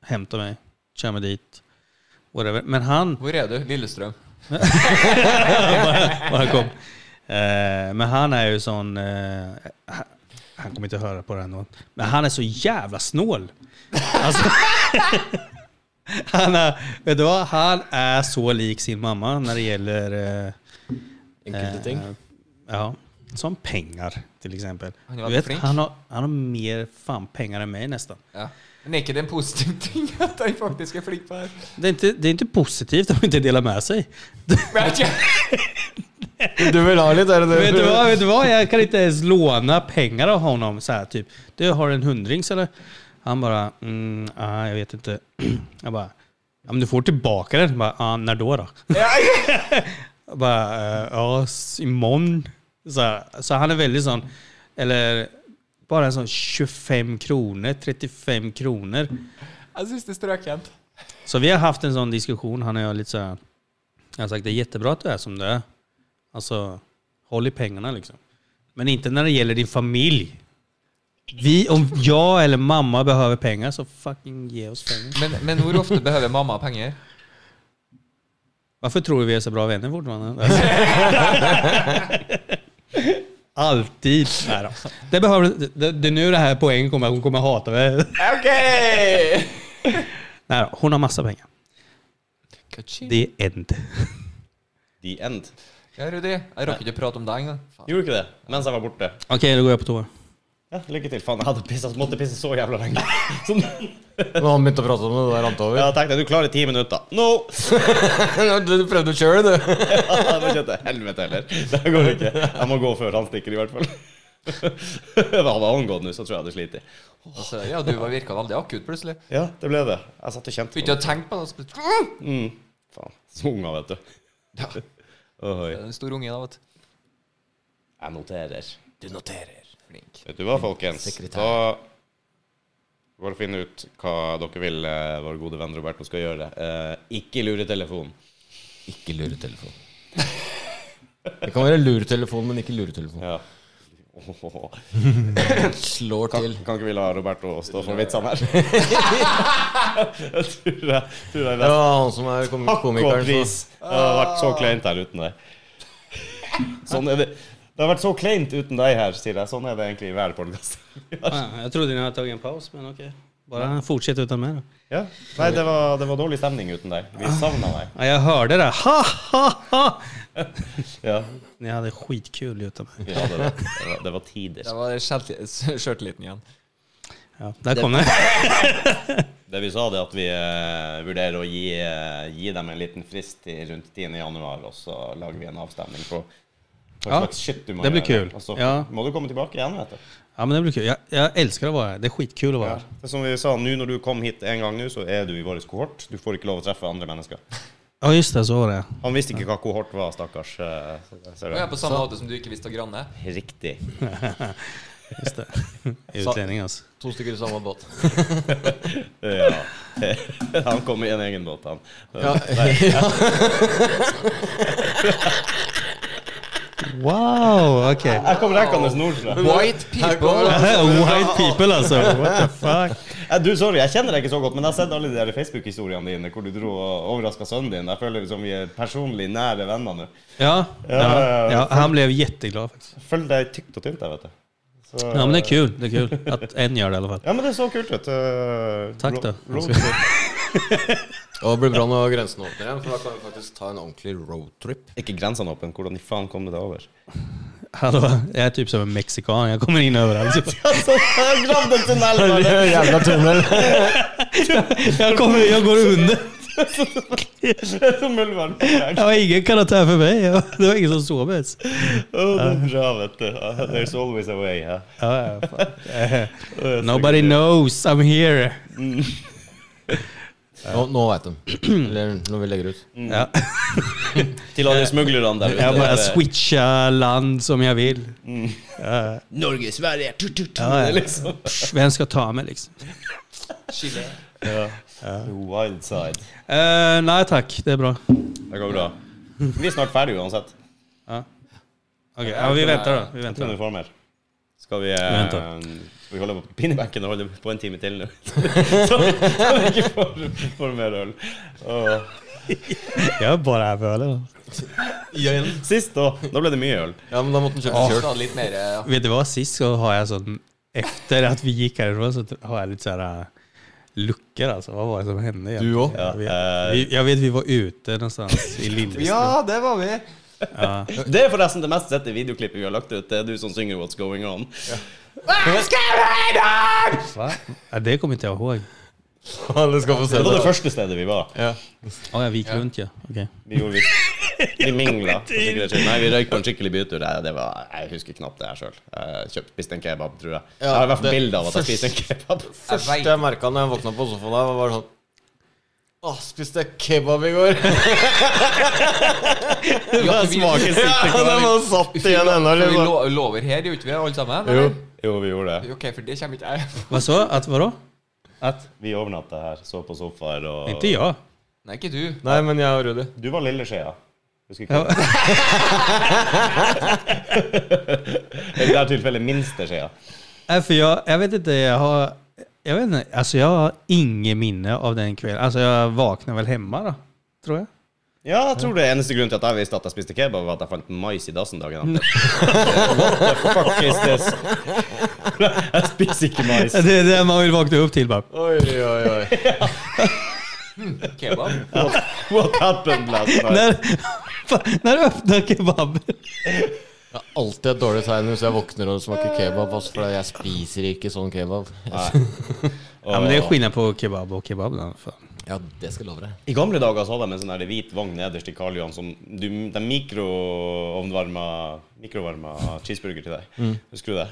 Speaker 1: henta meg, kjør meg dit. Whatever. Men han
Speaker 3: Hvor er du? Lillestrøm.
Speaker 1: Og han kom. Eh, men han er jo sånn eh, han- Han kommer ikke å høre på det her nå. Men han er så jævla snål! Alltså, han, er, vet du hva? han er så lik sin mamma når det gjelder eh,
Speaker 6: Enkelte ting.
Speaker 1: Eh, ja. Som pengar, till exempel.
Speaker 3: Han har
Speaker 1: du
Speaker 3: varit
Speaker 1: vet,
Speaker 3: flink.
Speaker 1: han, har, han har mer fan pengar än mig nästan.
Speaker 3: Ja. Men er ikke det en positiv ting at han faktisk er flink på det? her?
Speaker 1: Det är inte, det är inte positivt om man inte delar med sig.
Speaker 3: Men jeg kjenner-
Speaker 5: Du vil ha litt, er det
Speaker 1: vet, du
Speaker 5: det?
Speaker 1: vad, vet du vad? Jag kan inte ens låna pengar av honom. Så här, typ. Du har en hundrings eller? Han bara, mm, ah, jag vet inte. Jag bara, ja, men du får tillbaka den. Jag bara, ah, när då då? Jag bara, eh, ja, s- imorgon. Så, här, så han är väldigt sån, eller bara en sån 25 kronor, 35 kronor.
Speaker 3: Jeg syns det er strøkent.
Speaker 1: Så vi har haft en sån diskussion. Han och jag lite så här, jag har sagt det är jättebra att du är som du är. Alltså, håll i pengarna liksom. Men inte när det gäller din familj. Vi, om jag eller mamma behöver pengar så fucking ge oss pengar.
Speaker 3: Men, men hvor ofte behøver mamma penger?
Speaker 1: Varför tror du vi är så bra vänner fortfarande? Alltid. Nej då. Det, behöver, det, det är nu det här poängen kommer. Hon kommer hata mig.
Speaker 3: Ok!
Speaker 1: Nej då, hon har massa pengar. Det är end.
Speaker 4: The end.
Speaker 3: Ja, Rudi, jeg rakk ikke å prate om deg engang. Faen.
Speaker 4: Gjorde ikke det mens jeg var borte.
Speaker 1: Okej, då går jag på toa.
Speaker 4: Ja, lykke til. Faen, jeg hadde pisset, måtte pisse så jævla lenge. Så nå-
Speaker 5: Når han begynte å prate om det, det rant over.
Speaker 4: jeg tenkte du klarer ti minutter. No!
Speaker 5: Du prøvde sjøl, du.
Speaker 4: Ja, Nå kjente jeg helvete heller. Det går ikke. Jeg må gå før han stikker, i hvert fall. Hadde han gått nå, så tror jeg jeg hadde slitt.
Speaker 3: Altså, ja, du var- virka veldig akutt plutselig.
Speaker 4: Ja, det ble det. Jeg satt og kjente på
Speaker 3: Begynte å
Speaker 4: det.
Speaker 3: tenke på det. og så plutselig-
Speaker 4: Mm. Faen. Så unger, vet du.
Speaker 3: Ja, det
Speaker 4: Ohoi.
Speaker 3: er en stor unge da, vet du.
Speaker 4: Jeg noterer.
Speaker 6: Du noterer.
Speaker 3: Flink.
Speaker 4: Vet du hva, folkens?
Speaker 6: Sekretær.
Speaker 4: Da går det å finne ut hva dere vil eh, vår gode venn Roberto skal gjøre. Eh, ikke luretelefon.
Speaker 6: Ikke luretelefon.
Speaker 5: Det kan være luretelefon, men ikke luretelefon.
Speaker 4: Ja. Åhåhå.
Speaker 6: Slår
Speaker 4: Kan,
Speaker 6: til.
Speaker 4: kan ikke vi la Roberto stå for vitsene her? jeg tror jeg, tror
Speaker 5: Det
Speaker 4: jeg nesten
Speaker 5: var han som er kom komikeren.
Speaker 4: pris.
Speaker 5: Så.
Speaker 4: Det har vært så kleint her uten deg. Sånn er det. Det har vært så kleint uten deg her, sier jeg. Sånn er det egentlig i hver podkast.
Speaker 1: Ja, jag trodde ni hade tagit en paus, men okej. Bara fortsätt utan mig då.
Speaker 4: Ja. Nei, det var, det var dårlig stemning uten deg. Vi savna deg.
Speaker 1: Ja, jag hörde det. Ha, ha, ha!
Speaker 4: Ja,
Speaker 1: Ni hade skitkul utan mig.
Speaker 4: vi hadde det. Det var, det var tider.
Speaker 3: Da var det sjølti- sjøltilliten igjen.
Speaker 1: Ja, där kom det.
Speaker 4: Det vi sa, det er at vi eh, vurderer å gi, eh, gi dem en liten frist til rundt 10. januar, og så lager vi en avstemning på hva
Speaker 1: Ja,
Speaker 4: slags shit du må
Speaker 1: det blir
Speaker 4: gjøre.
Speaker 1: kul.
Speaker 4: Og så
Speaker 1: Ja.
Speaker 4: må du komme tilbake igjen, vet du.
Speaker 1: Ja, men det blir kul. Jag, jag älskar att vara här. Det är skitkul att vara här.
Speaker 4: Det er som vi sa, nå når du kom hit en gang nå, så er du i vår kohort. Du får ikke lov å treffe andre mennesker.
Speaker 1: Ja, just det. Så var det.
Speaker 4: Han visste ikke hva kohort var, stakkars. eh, Ser
Speaker 3: Og jeg er
Speaker 4: du.
Speaker 3: på samme måte som du ikke visste av Granne.
Speaker 4: Riktig.
Speaker 1: Just det. Utlänning alltså.
Speaker 6: To stykker i samme båt.
Speaker 4: Ja. Han kommer i en egen båt, han.
Speaker 1: Wow, okej.
Speaker 4: Her kommer Rekkane Nordstrø.
Speaker 3: White people!
Speaker 1: White people alltså. What the fuck?
Speaker 4: Eh, Du, sorry, jeg kjenner deg ikke så godt, men jeg har sett alle de der Facebook-historiene dine hvor du dro og overraska sønnen din. Jeg føler som vi er personlig nære venner nå.
Speaker 1: Ja,
Speaker 4: ja,
Speaker 1: ja,
Speaker 4: ja.
Speaker 1: ja, han blev jätteglad faktiskt.
Speaker 4: Følg deg tykt og tynt der, vet du. Så,
Speaker 1: Ja, men det är kul. Det är kul att en gör det i alla fall.
Speaker 4: Ja, men det så kult ut. eh,
Speaker 1: Takk, da.
Speaker 4: ro- roadtrip.
Speaker 6: Og det blir bra når grensen åpner igjen, for da kan vi faktisk ta en ordentlig roadtrip.
Speaker 4: Ikke grensene åpne. Hvordan i faen kom du deg over?
Speaker 1: Hallå, jag är typ som en mexikan. Jag kommer in överallt.
Speaker 4: Altså, jeg gravde en tunnel!
Speaker 5: Det
Speaker 4: bare.
Speaker 5: er Jævla tunnel.
Speaker 1: Jag, kommer, jag går under.
Speaker 4: Det er som muldvarp.
Speaker 1: Ja, ingen kan ha tagit för mig. Ja, Det var ingen som såg mig ens.
Speaker 4: Å, det er bra, vet du. Ah, There's always a way. Ja.
Speaker 1: Ja, ja, fan.
Speaker 4: Det er så
Speaker 1: Nobody
Speaker 4: gøy.
Speaker 1: knows I'm here.
Speaker 5: Nå, nå veit de. Eller når vi legger ut.
Speaker 1: Ja.
Speaker 4: Til alle smuglerne der
Speaker 1: Jag bara
Speaker 4: ute.
Speaker 1: switchar land som jag vill.
Speaker 4: Norge, Sverige tut, tut, tut,
Speaker 1: Ja, ja.
Speaker 4: liksom.
Speaker 1: Pff, Vem ska ta mig liksom?
Speaker 3: Chile.
Speaker 4: Wild side.
Speaker 1: Eh, nej tack, det är bra.
Speaker 4: Det går bra. Vi er snart ferdig uansett.
Speaker 1: Okej, ja, vi väntar då. Vi väntar.
Speaker 4: Under former. Skal vi, eh,
Speaker 1: Venter.
Speaker 4: skal vi holde på pinnebenken og holde på en time til nå? så vi så vi ikke får, får mer øl. Åh.
Speaker 1: Jag är bara här för ölen.
Speaker 4: Sist, da. Da ble det mye øl.
Speaker 5: Ja, men da måtte han kjøpe
Speaker 3: Stadig litt mer eh, ja.
Speaker 1: Vet du vad, sist så har jag sån, efter att vi gick härifrån så har jag lite såhär äh, luckor alltså. Vad var det som hände? egentligen?
Speaker 5: Du òg?
Speaker 1: Jag vet,
Speaker 4: Ja, eh.
Speaker 1: vi, jag vet vi var ute någonstans i Lillestrøm.
Speaker 3: det var vi!
Speaker 4: Det er forresten det mest sette videoklippet vi har lagt ut. Det er du som synger 'What's Going On'.
Speaker 1: Va? Ja, det kommer ikke jeg ihåg.
Speaker 3: Alle skal få
Speaker 4: Det var det første stedet vi var.
Speaker 1: Å ja, vi gikk rundt, ja. Ok.
Speaker 4: Vi gjorde vi, vi mingla. for sikkerhets skyld. Nei, vi røyk på en skikkelig bytur. Nei, det var, jeg husker knapt det her sjøl. Kjøpt spiste en kebab, tror jeg. Jeg har i hvert fall bilde av at jeg spiste en kebab.
Speaker 5: Første jeg merka når jeg våkna på sofaen, der, var bare sånn Å, spiste jeg kebab i går?
Speaker 3: smaker sitter
Speaker 5: den var satt igjen ennå,
Speaker 3: Vi
Speaker 5: liksom.
Speaker 3: lo- lover her, gjør ikke vi alle sammen?
Speaker 5: Jo.
Speaker 3: eller?
Speaker 4: Jo, vi gjorde det.
Speaker 3: Ok, for det kommer ikke jeg
Speaker 1: Hva så? At hva da?
Speaker 4: At vi overnatta her, så på sofaer og
Speaker 1: Ikke jeg.
Speaker 3: Nei, ikke du.
Speaker 5: Nei, men jeg og Rudi.
Speaker 4: Du var lille skjea. Husker ikke. I det her tilfellet minste skjea.
Speaker 1: Nej, för jag, jag vet inte, jag har, jag vet inte, alltså jag har inget minne av den kvällen. Alltså jag vaknade väl hemma då, tror jag.
Speaker 4: Ja, jeg tror det eneste grunnen til at jeg visste at jeg spiste kebab, var at jeg fant mais i dassen dagen etter. What the fuck is this? Jeg spiser ikke mais.
Speaker 1: Det är det man vill vakna upp till bara.
Speaker 5: Oi, oi, oi.
Speaker 3: Kebab.
Speaker 4: What happened last night?
Speaker 1: När, när du öppnar kebaben.
Speaker 6: Det er alltid et dårlig tegn hvis jeg våkner og smaker kebab. Altså, for jeg spiser ikke sånn kebab.
Speaker 1: Ja, men det är skillnad på kebab og kebab. Då, fan.
Speaker 6: Ja, det skal jeg love deg.
Speaker 4: I gamle dager så hadde de en sånn her hvit vogn nederst i Karl Johan som du, de mikroovnvarma mikrovarma cheeseburger til deg.
Speaker 1: Mm.
Speaker 4: Husker du det?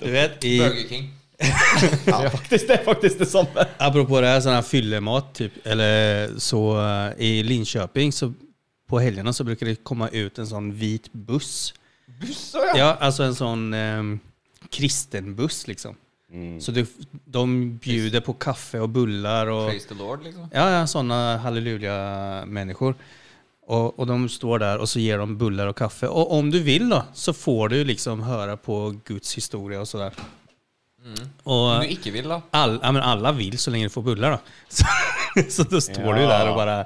Speaker 1: Du vet, i,
Speaker 3: Burger King.
Speaker 4: Ja, faktisk, det er faktisk det samme.
Speaker 1: apropå det här, sån här fyllemat typ, eller så eh, i Linköping så på helgerna så brukar det komma ut en sån vit buss.
Speaker 3: Buss, å ja.
Speaker 1: Ja, alltså en sån eh, kristen buss liksom. Så du, de bjuder på kaffe och bullar och
Speaker 3: Praise the Lord, liksom.
Speaker 1: ja, ja, sådana halleluja-människor. Och, och de står där och så ger de bullar och kaffe. Och om du vill då så får du liksom höra på Guds historia och sådär. Och
Speaker 3: Om du ikke vil, da.
Speaker 1: all, ja, men alla vill så länge du får bullar då. Så, så då står du där och bara...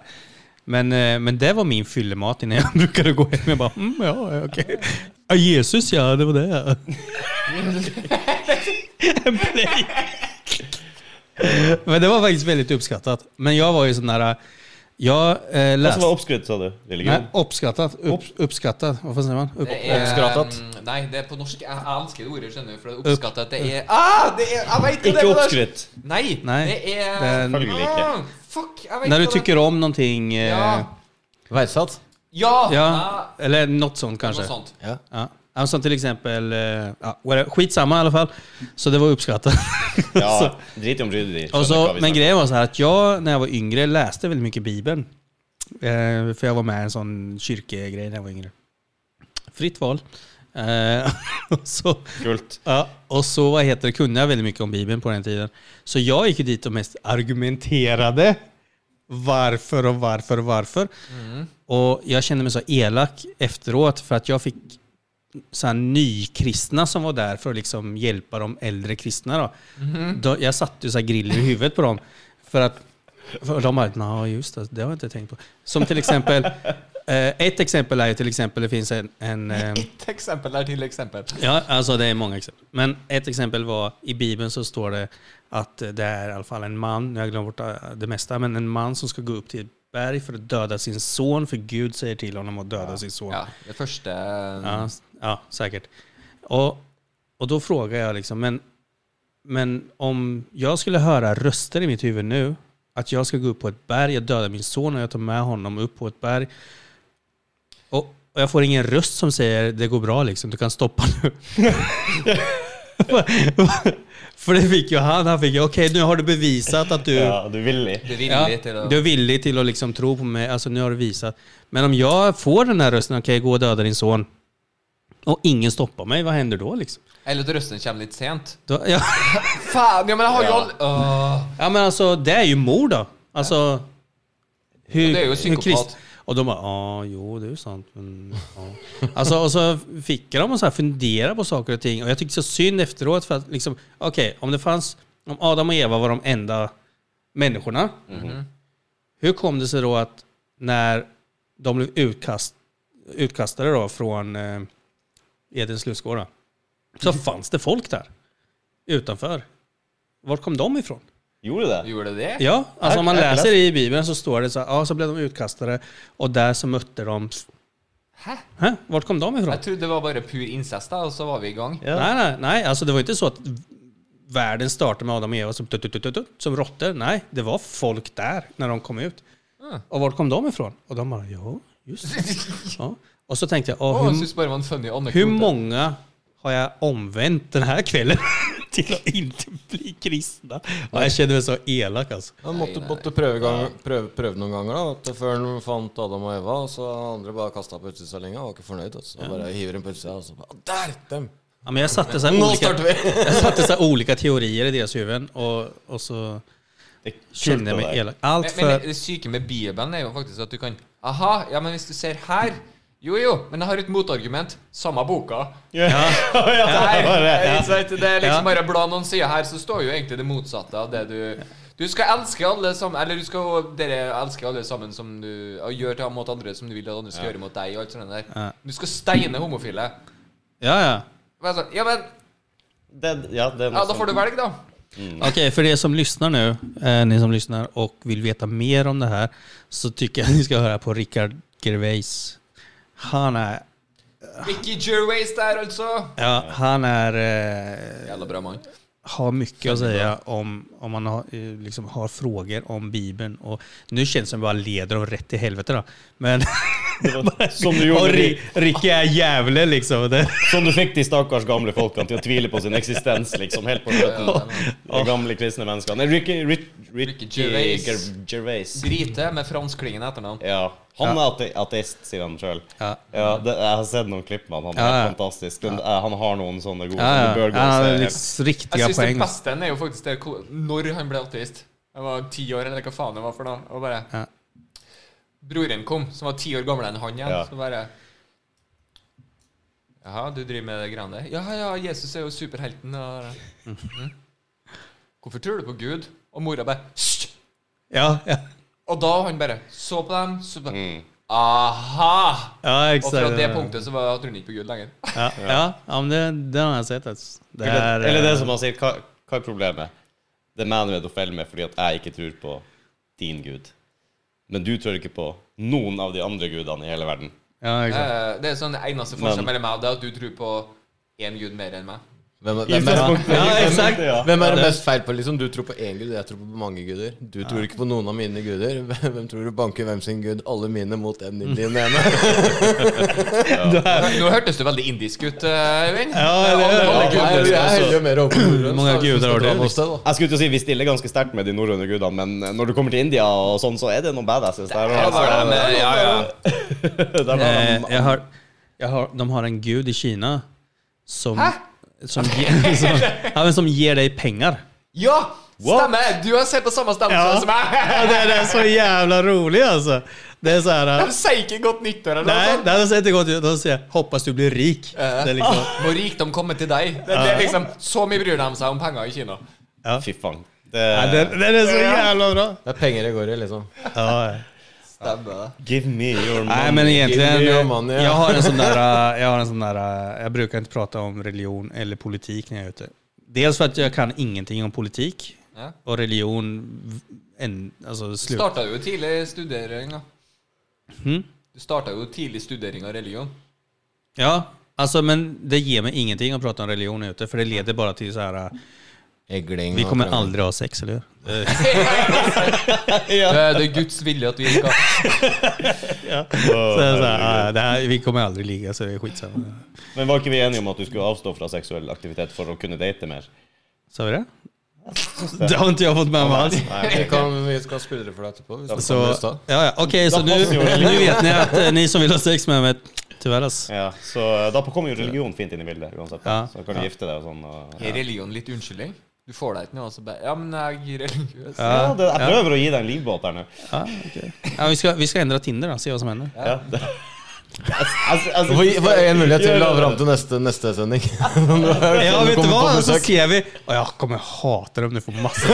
Speaker 1: Men, eh, men det var min fyllemat innan jag brukade gå hem. Jag bara, mm, ja, ja, okej. Ja, Jesus ja, det var det. En play. men det var faktiskt väldigt uppskattat. Men jag var ju sån där... eh, Jag eh,
Speaker 4: Hva som var
Speaker 1: läste...
Speaker 4: oppskrytt, sa du? Lille
Speaker 1: Nej,
Speaker 4: Gud?
Speaker 1: uppskattat. Upp, uppskattat. Vad fan säger man? Upp,
Speaker 3: Det er-
Speaker 5: Oppskrattet.
Speaker 3: Nei, det er på norsk. Jeg, jeg elsker det ordet, skjønner du. For det er oppskattet det er ah, det er, Jeg vet hva det
Speaker 4: Ikke
Speaker 3: er på norsk.
Speaker 4: oppskrytt.
Speaker 3: Nei,
Speaker 1: Nei,
Speaker 3: det er
Speaker 1: det er-
Speaker 4: Følgelig ikke.
Speaker 3: Ah, Fuck, jeg vet
Speaker 1: När du
Speaker 3: hva det-
Speaker 1: tycker om någonting... Eh,
Speaker 3: Ja.
Speaker 1: ja.
Speaker 6: Verdsatt.
Speaker 3: Ja! ah,
Speaker 1: Eller något sånt kanske.
Speaker 3: Noe sånt.
Speaker 1: Ja. Ja, Som till exempel, eh, ja, whatever. skitsamma i alla fall. Så det var uppskattat.
Speaker 4: Ja, drit i om bryderier.
Speaker 1: Och så, men grejen var så här att jag när jag var yngre läste väldigt mycket Bibeln. Eh, för jag var med i en sån kyrkegrej när jag var yngre. Fritt val. Eh, och så,
Speaker 4: Kult.
Speaker 1: ja, och så vad heter det, kunde jag väldigt mycket om Bibeln på den tiden. Så jag gick ju dit och mest argumenterade varför och varför och varför. Och jag kände mig så elak efteråt för att jag fick så här nykristna som var där för att liksom hjälpa de äldre kristna. Då. Då, jag satte ju så här griller i huvudet på dem. För att för de bara, ja just det, det har jag inte tänkt på. Som till exempel, eh, ett exempel är ju till exempel, det finns en... en ehm,
Speaker 3: Et eksempel er til eksempel.
Speaker 1: Ja, alltså det är många exempel. Men ett exempel var, i Bibeln så står det att det är i alla fall en man, nu har jag glömt bort eh, det mesta, men en man som ska gå upp till ett berg för att döda sin son, för Gud säger till honom att döda sin son.
Speaker 3: Ja, det første
Speaker 1: Ja, s- ja säkert. Och, och då frågar jag liksom, men, men om jag skulle höra röster i mitt huvud nu, att jag ska gå upp på ett berg, jag dödar min son och jag tar med honom upp på ett berg. Och, och jag får ingen röst som säger det går bra liksom, du kan stoppa nu. För det fick ju han, han fick ju okej nu har du bevisat att du
Speaker 4: Ja, du er villig.
Speaker 3: bevillig til å
Speaker 1: du er villig til å liksom tro på meg. Alltså, nu har du visat. Men om jag får den här rösten, okej, gå och döda din son. Och ingen stoppar mig, vad händer då liksom?
Speaker 3: Eller at røsten kommer litt sent.
Speaker 1: Då, ja.
Speaker 3: Faen, ja, men jeg har jo all... Åh.
Speaker 1: ja, men alltså det är ju mord då. Alltså, hur,
Speaker 3: Ja, det är ju psykopat.
Speaker 1: och de bara, ja, jo, det är ju sant. Men, ja. alltså, och så fick de att så här fundera på saker och ting. Och jag tyckte så synd efteråt för att liksom, okej, om det fanns, om Adam och Eva var de enda människorna.
Speaker 3: Mm-hmm.
Speaker 1: Hur kom det sig då att när de blev utkast, utkastade då från eh, Edens lustgård, då, så fanns det folk där utanför. Var kom de ifrån?
Speaker 4: Gjorde det?
Speaker 3: Gjorde det det?
Speaker 1: Ja, alltså om man
Speaker 4: Är- är det
Speaker 1: läser i Bibeln så står det så här, ja, så blev de utkastade och där så mötte de...
Speaker 3: Hæ?
Speaker 1: Hä? Vart kom de ifrån?
Speaker 3: Jeg trodde det var bare pur incest, da, og så var vi i gang.
Speaker 4: Ja.
Speaker 1: Nej, nej, nej, alltså det var inte så att världen startade med Adam och Eva som, tut, tut, tut, tut, tut, som råttor. Nej, det var folk där när de kom ut.
Speaker 3: Ah.
Speaker 1: Och vart kom de ifrån? Och de bara, ja, just det. Ja. Och så tänkte jag,
Speaker 3: Å,
Speaker 1: ja,
Speaker 3: jeg
Speaker 1: hur,
Speaker 3: synes bare det var en funny anekdote.
Speaker 1: hur många har jag omvänt den här kvällen till att inte bli kristna? Ja, jag kände mig så elak alltså.
Speaker 6: Han måtte, måtte prøve, gang, prøve, prøve noen ganger da, at før han fant Adam og Eva. Så andre bare kasta på utstillinga og var ikke fornøyd. Altså. Så bare hiver hun på utsida, og så bare Der! Dem!
Speaker 1: Ja, men jag satte så här
Speaker 6: Nå
Speaker 1: olika...
Speaker 6: starter vi!
Speaker 1: Jag satte så här olika teorier i deras huvuden och, och så
Speaker 4: Det er kult,
Speaker 1: kände jag
Speaker 4: det
Speaker 1: mig
Speaker 4: der.
Speaker 1: elak. Allt
Speaker 3: Men, men
Speaker 1: för...
Speaker 3: det syke med Bibelen er jo faktisk at du kan Aha, ja, men hvis du ser her Jo, jo, men jeg har et motargument. Samme boka.
Speaker 4: Ja.
Speaker 3: Der,
Speaker 4: det var det.
Speaker 3: ikke sant? Det er
Speaker 1: Ja.
Speaker 3: liksom bare å bla noen sider her, så står jo egentlig det motsatte av det du Du skal elske alle sammen Eller du skal dere elsker alle sammen som du og gjør til mot andre som du vil at andre skal gjøre mot deg, og alt sånt der.
Speaker 1: Ja.
Speaker 3: Du skal steine homofile.
Speaker 1: Ja, ja.
Speaker 3: Men altså, Ja, men
Speaker 4: Det- ja, det er noe
Speaker 3: ja, da får du
Speaker 4: sånt.
Speaker 3: velge, da.
Speaker 4: Mm.
Speaker 1: Okej, för er som lyssnar nu, eh, ni som lyssnar och vill veta mer om det här, så tycker jag ni ska höra på Rickard Gervais. Han är,
Speaker 3: Ricky Gervais der, altså.
Speaker 1: ja, han er, eh,
Speaker 3: Jævla bra mann.
Speaker 1: har mycket att säga om, om man har, eh, liksom, har frågor om Bibeln. Och nu känns det som att jag bara leder dem rätt till helvete då. Men,
Speaker 4: Det var- Som du
Speaker 1: och
Speaker 4: gjorde
Speaker 1: Ri-
Speaker 4: de-
Speaker 1: Ricky är djävulen liksom. Det,
Speaker 4: Som du fikk de stakkars gamle folkene til å tvile på sin eksistens, liksom, helt på slutten.
Speaker 3: Ja, den-
Speaker 4: De gamle kristne menneskene. Ricky, Rick,
Speaker 3: Ricky
Speaker 4: Ricky
Speaker 3: Gervais.
Speaker 4: Ger- Gervais.
Speaker 3: Drite med franskklingende etternavn.
Speaker 4: Ja. Han er ate- ateist, sier han sjøl.
Speaker 1: ja.
Speaker 4: Ja, det, jeg har sett noen klipp med han. Han er
Speaker 1: Ja, ja.
Speaker 4: fantastisk. Den, eh, Han har noen sånne gode
Speaker 1: Ja,
Speaker 4: som du
Speaker 1: ja.
Speaker 4: bør gå
Speaker 1: ja
Speaker 4: og
Speaker 1: det
Speaker 4: se.
Speaker 1: er liksom riktiga
Speaker 3: Jeg syns det
Speaker 1: poäng.
Speaker 3: beste er jo faktisk det hvor- når han ble ateist. Jeg var ti år, eller hva faen det var for noe. Og bare
Speaker 1: Ja.
Speaker 3: Broren kom, som var ti år gamlere enn han igjen.
Speaker 4: Ja.
Speaker 3: Så bare Jaha, du driver med det greiene der? Ja, ja, Jesus er jo superhelten. Og, Mhm. Hvorfor tror du på Gud? Og mora bare Hysj!
Speaker 1: Ja, ja.
Speaker 3: Og da han bare så på dem, så bare
Speaker 1: Mm.
Speaker 3: Aha!
Speaker 1: ja
Speaker 3: Og
Speaker 1: exakt.
Speaker 3: fra det punktet så var trodde han ikke på Gud lenger.
Speaker 1: Ja, ja. ja men det, det har jag sett. Alltså. Det är,
Speaker 4: Eller, eller det som han sier, hva, hva er problemet? Det er meg du vet å felle med fordi at jeg ikke tror på din gud. Men du tror ikke på noen av de andre gudene i hele verden.
Speaker 1: ja, exakt.
Speaker 3: Eh, Det er sånn eneste forskjell
Speaker 4: Men-
Speaker 3: mellom meg og deg, at du tror på én gud mer enn meg.
Speaker 6: Hvem, er- hvem, er,
Speaker 1: Ja, exakt.
Speaker 6: hvem er det mest feil på? liksom? Du tror på én gud, jeg tror på mange guder. Du tror ikke på noen av mine guder. Hvem tror du banker hvem sin gud? Alle mine mot en din ene.
Speaker 3: Nå hørtes du veldig indisk ut, eh, Øyvind.
Speaker 1: Ja, det gjør jeg.
Speaker 3: Alle
Speaker 6: Nei,
Speaker 3: gudene
Speaker 6: jeg
Speaker 3: skal
Speaker 6: heller jo mer over
Speaker 1: Hvor mange guder har du?
Speaker 4: Jeg skulle til å si Vi stiller ganske sterkt med de norrøne gudene, men når du kommer til India, og sånn, så er det noen badasses der.
Speaker 3: Ja,
Speaker 4: altså.
Speaker 3: bare med- ja, ja.
Speaker 4: Der var de-
Speaker 1: Eh, jag har, jag har, de har en gud i Kina som,
Speaker 3: Hæ?
Speaker 1: som, ge, som, ja, men som ger dig pengar.
Speaker 3: ja, stemmer! Du har sett på samme stemme
Speaker 1: Ja.
Speaker 3: som meg.
Speaker 1: Ja, det, det är så jävla roligt alltså. Det är så här...
Speaker 3: De sier ikke 'godt nyttår' eller
Speaker 1: Nej,
Speaker 3: noe sånt.
Speaker 1: det hade sett inte gått ut. De säger hoppas du blir rik. Det är liksom,
Speaker 3: Må rikdom komme til deg. Ah. Det, det er liksom, Så mye bryr de seg om penger i Kina.
Speaker 4: Fy faen.
Speaker 1: ja, det,
Speaker 4: Det,
Speaker 1: det är så jävla bra.
Speaker 6: Det er penger det går i, liksom.
Speaker 1: Ja, ja.
Speaker 3: Stemmer det.
Speaker 4: give me your money.
Speaker 1: Nej men egentligen,
Speaker 6: Give me your money, ja.
Speaker 1: jag har en sån der, eh, jag har en sån där, eh, jag brukar inte prata om religion eller politik när jag är ute. Dels för att jag kan ingenting om politik
Speaker 3: Ja.
Speaker 1: och religion, v- en, alltså slut.
Speaker 3: Starta jo tidlig studering, da.
Speaker 1: Mm.
Speaker 3: Du starta jo tidlig studering av religion.
Speaker 1: Ja, alltså men det ger mig ingenting att prata om religion när jag är ute för det leder bara till så här, eh,
Speaker 6: Egling
Speaker 1: vi
Speaker 6: og
Speaker 1: kommer
Speaker 6: krangel.
Speaker 1: aldrig ha sex eller hur?
Speaker 3: Eh, Det er det Guds vilje at vi skal
Speaker 1: Så det är så
Speaker 4: Åh,
Speaker 1: här, eh, det här, vi kommer aldrig ligga så det är skitsamma.
Speaker 4: Men var ikke vi enige om at du skulle avstå fra seksuell aktivitet for å kunne date mer?
Speaker 1: Sa vi det? Det har inte jag fått med mig alls.
Speaker 6: Vi, kan, vi skal spille det for deg etterpå. Hvis
Speaker 1: Så,
Speaker 6: det
Speaker 1: ja, ja. Okej, så
Speaker 4: Då
Speaker 1: nu,
Speaker 4: passar ju religion.
Speaker 1: nu vet ni att eh, ni som vill ha sex med mig, tyvärr alltså.
Speaker 4: Ja, så da kommer jo religion fint inn i bildet uansett.
Speaker 1: Ja.
Speaker 4: Så kan du gifte deg og sånn. Og,
Speaker 3: Er religion litt unnskyldning? Du får deg ikke noe, og så bare alltså, Ja, men jeg er religiøs.
Speaker 4: ja, det, jeg prøver å gi deg en livbåt her nå.
Speaker 1: Ja, okej. ja, vi, ska, vi ska ändra Tinder då, se vad som händer.
Speaker 4: Ja. Alltså, det- Altså, altså,
Speaker 6: Få få en mulighet til å
Speaker 4: Gjør det.
Speaker 6: ha fram til neste, neste sending.
Speaker 1: Ja,
Speaker 6: ja,
Speaker 1: vet du vad? Så ser vi. Och jag kommer hata det om du får massor.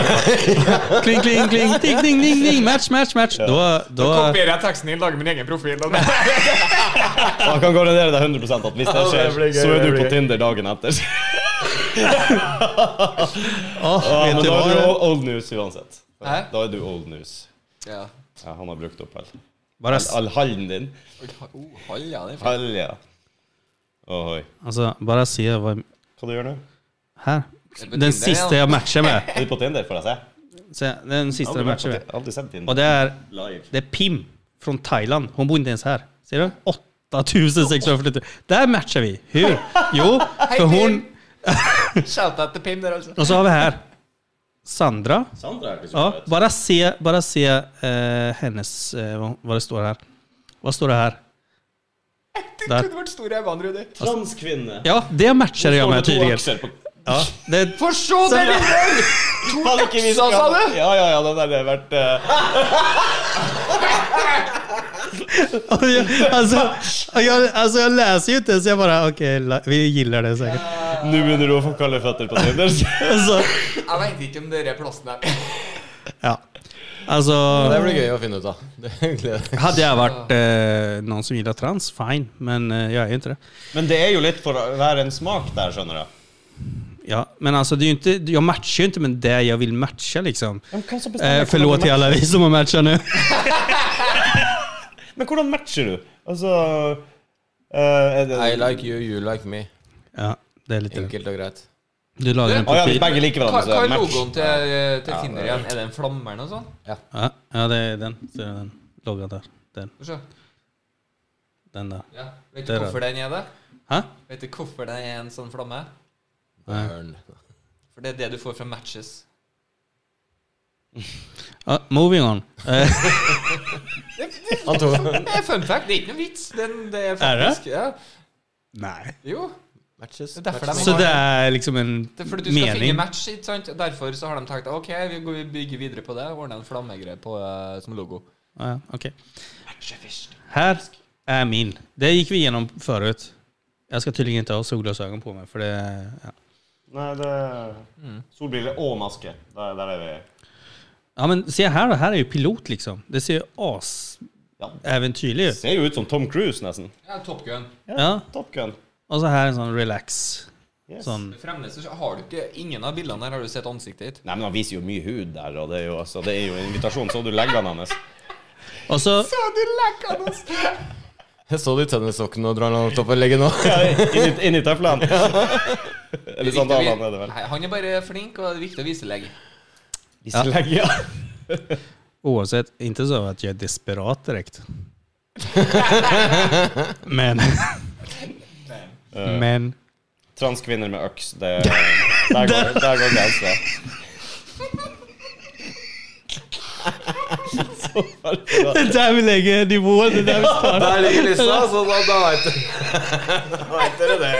Speaker 1: kling, kling, kling, ding, ding, ding, ding, match, match, match. Då, då,
Speaker 3: Kopierer jeg teksten din, lager min egen profil. Og det.
Speaker 4: Jeg kan garantere deg 100 at hvis det skjer,
Speaker 6: det blir gøy,
Speaker 4: så er
Speaker 6: det
Speaker 4: du
Speaker 6: blir
Speaker 4: på
Speaker 6: gøy.
Speaker 4: Tinder dagen etter.
Speaker 1: Ja,
Speaker 4: Ja,
Speaker 1: vet
Speaker 4: men
Speaker 1: du hva?
Speaker 4: da er du o- old news uansett.
Speaker 3: Hæ?
Speaker 4: Da er du old news.
Speaker 3: Ja.
Speaker 4: Ja, han har brukt opp all,
Speaker 1: Bare,
Speaker 4: all, all hallen din.
Speaker 3: Oh, halja, det er fint.
Speaker 4: Halja. Ohoi.
Speaker 1: altså, bare alltså, se hva
Speaker 4: Hva du gjør nå?
Speaker 1: Her.
Speaker 3: Det betyr
Speaker 1: Den
Speaker 3: det,
Speaker 1: siste
Speaker 3: ja.
Speaker 1: jeg matcher med.
Speaker 4: Er du på Tinder, får jeg se?
Speaker 1: Se, den siste
Speaker 4: Aldri
Speaker 1: jeg
Speaker 4: vært på
Speaker 1: matcher
Speaker 4: Ti-
Speaker 1: med.
Speaker 4: aldri sett
Speaker 1: Og
Speaker 4: Tinder.
Speaker 1: det er,
Speaker 4: Live.
Speaker 1: det er Pim fra Thailand. Hun bor ikke ens her. Ser du? 8640. Der matcher vi. Hur? Jo, for hun
Speaker 3: Shout-out til Pim alltså. der, altså.
Speaker 1: Og så har vi her Sandra.
Speaker 4: Sandra er ikke så
Speaker 1: Ja,
Speaker 4: fett.
Speaker 1: bare se, bare se eh, hennes eh, hva- Hva det står her. Hva står det her?
Speaker 3: Du
Speaker 1: Der.
Speaker 3: kunne vært stor Evan, Rudi.
Speaker 4: Transkvinne.
Speaker 1: Ja, det matcher jeg med tidligere. Ja, det,
Speaker 3: For så det
Speaker 4: Sandra.
Speaker 3: lille!
Speaker 4: Hadde ikke vi
Speaker 3: Sa- sa du?
Speaker 4: Ja, ja, ja, den hadde vært eh,
Speaker 1: altså, jeg, altså, jeg leser jo ikke, så jeg bare Ok, la, vi gilder det sikkert.
Speaker 4: Nå begynner du å få kalde føtter på Tinder.
Speaker 1: Altså,
Speaker 3: Jeg veit ikke om det er plassen her.
Speaker 1: ja. Alltså, altså
Speaker 6: Det blir gøy å finne ut av. Det gleder jeg meg.
Speaker 1: Hadde jeg vært eh, noen som gillar trans, fine, men eh, jeg er jo ikke det.
Speaker 4: Men det er jo litt for hver en smak der, skjønner du.
Speaker 1: Ja, men alltså, det är ju inte, jag matchar ju inte med det jag vill matcha liksom.
Speaker 4: Men hva som bestemmer
Speaker 1: Eh, förlåt
Speaker 4: hvordan
Speaker 1: till alla vi som har matchat nu.
Speaker 4: match- Men hvordan matcher du? Altså eh, er det,
Speaker 6: I like you, you like me.
Speaker 1: Ja, det är lite det.
Speaker 6: Enkelt og greit.
Speaker 1: Du lagar en
Speaker 4: Å ja,
Speaker 1: profil.
Speaker 4: begge liker
Speaker 3: Hva,
Speaker 4: hverandre,
Speaker 3: hva
Speaker 4: så
Speaker 3: er
Speaker 4: match.
Speaker 3: logoen til, eh, til Tinder igjen? Er det en flamme eller noe sånt?
Speaker 1: Ja, ja, det är den. Så är det den. Loggan där. Den,
Speaker 3: Få se.
Speaker 1: den där.
Speaker 3: Ja. Vet du
Speaker 1: Der er
Speaker 3: hvorfor den er det?
Speaker 1: Ha?
Speaker 3: Vet du hvorfor den er en sånn flamme?
Speaker 6: Burn.
Speaker 3: For det er det du får fra matches.
Speaker 1: Ja, moving on. Eh,
Speaker 6: Han tok
Speaker 3: Det er fun fact. Det er ikke noe vits. Den, det er
Speaker 1: Er det?
Speaker 3: faktisk Ja.
Speaker 1: nej.
Speaker 3: Jo.
Speaker 6: matches.
Speaker 3: Det er derfor de
Speaker 1: Så
Speaker 3: har
Speaker 1: det er liksom en
Speaker 3: Det er fordi du skal
Speaker 1: mening.
Speaker 3: finne match, ikke sant? Derfor så har de tenkt OK, vi, går, vi bygger videre på det. Ordner en flammegreie på, eh, som logo.
Speaker 1: Ja, ja, okej. Här är min. Det gick vi igenom förut. Jag ska tydligen inte ha solglasögon på mig för det... Ja,
Speaker 4: Nei, det Solbriller og maske. Der, der er vi.
Speaker 1: ja men se här då. Här är ju pilot liksom. Det ser ju as...
Speaker 4: Ja.
Speaker 1: Äventyrlig ut.
Speaker 4: Ser jo ut som Tom Cruise, nesten.
Speaker 3: Ja, Top Gun.
Speaker 1: Ja.
Speaker 4: Top Gun.
Speaker 1: Og så her en sånn relax.
Speaker 4: Yes.
Speaker 1: Sånn.
Speaker 3: Fremdeles så har du ikke Ingen av bildene her har du sett ansiktet ditt.
Speaker 4: Nei, men han viser jo mye hud der, og det er jo, altså, det er jo en invitasjon, så du legger han hans.
Speaker 1: Og så
Speaker 6: Jeg så de tennissokkene og drar den opp og legger nå.
Speaker 4: Ja, inni, inni tøflene. Eller sandalene, er det vel.
Speaker 3: Nei, han er bare flink, og det er viktig å vise legg.
Speaker 4: Viselegg, ja.
Speaker 1: uansett, ikke så at jeg er desperat direkte. Men Men
Speaker 4: Transkvinner med øks, det Der går, der går grensa. Så bare-
Speaker 1: Det er der vi legger nivået. Det er der vi starter.
Speaker 6: Der ligger lista, så da, da veit dere det.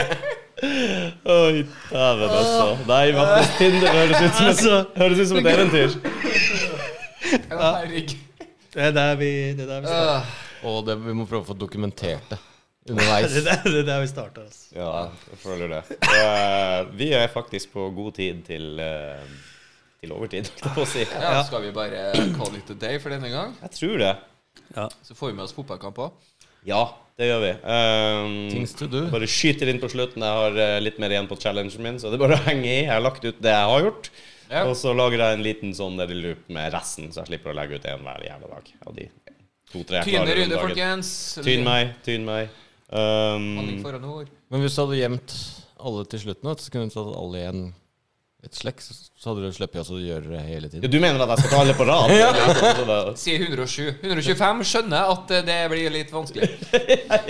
Speaker 4: Oi, dæven, altså. Nei, Mattis, Tinder høres ut som
Speaker 1: Altså.
Speaker 4: et, høres ut som et eventyr.
Speaker 3: Herregud.
Speaker 1: Det er der vi, det er der vi starter.
Speaker 6: Og det, vi må prøve å få dokumentert det underveis.
Speaker 1: Det er der, det er der vi starter altså.
Speaker 4: Ja, jeg føler det. Eh, vi er faktisk på god tid til, eh, til overtid, holdt jeg på å si.
Speaker 3: Ja, skal vi bare call it a day for denne gang?
Speaker 4: Jeg tror det.
Speaker 3: Så får vi med oss fotballkamp òg.
Speaker 4: Ja, det gjør vi. Ehm,
Speaker 6: Things to do.
Speaker 4: bare skyter inn på slutten. Jeg har eh, litt mer igjen på challengen min, så det er bare å henge i. Jeg har lagt ut det jeg har gjort.
Speaker 3: Ja.
Speaker 4: Og så lager jeg en liten sånn der loop med resten, så jeg slipper å legge ut en hver jævla dag. Av de to-tre jeg
Speaker 3: Tyne
Speaker 4: klarer om
Speaker 3: Rude,
Speaker 4: dagen.
Speaker 3: folkens.
Speaker 4: Tyn meg, tyn meg.
Speaker 3: Handling
Speaker 4: Ehm,
Speaker 3: foran ord.
Speaker 6: Men hvis du hadde gjemt alle til slutten, vet du, så kunne du tatt alle i en et slekk, så så hadde du sluppet å gjøre det hele
Speaker 4: ja,
Speaker 6: tiden.
Speaker 4: du mener at jeg skal ta alle på rad? Eller?
Speaker 3: Si 107. 125 skjønner at eh, det blir litt vanskelig.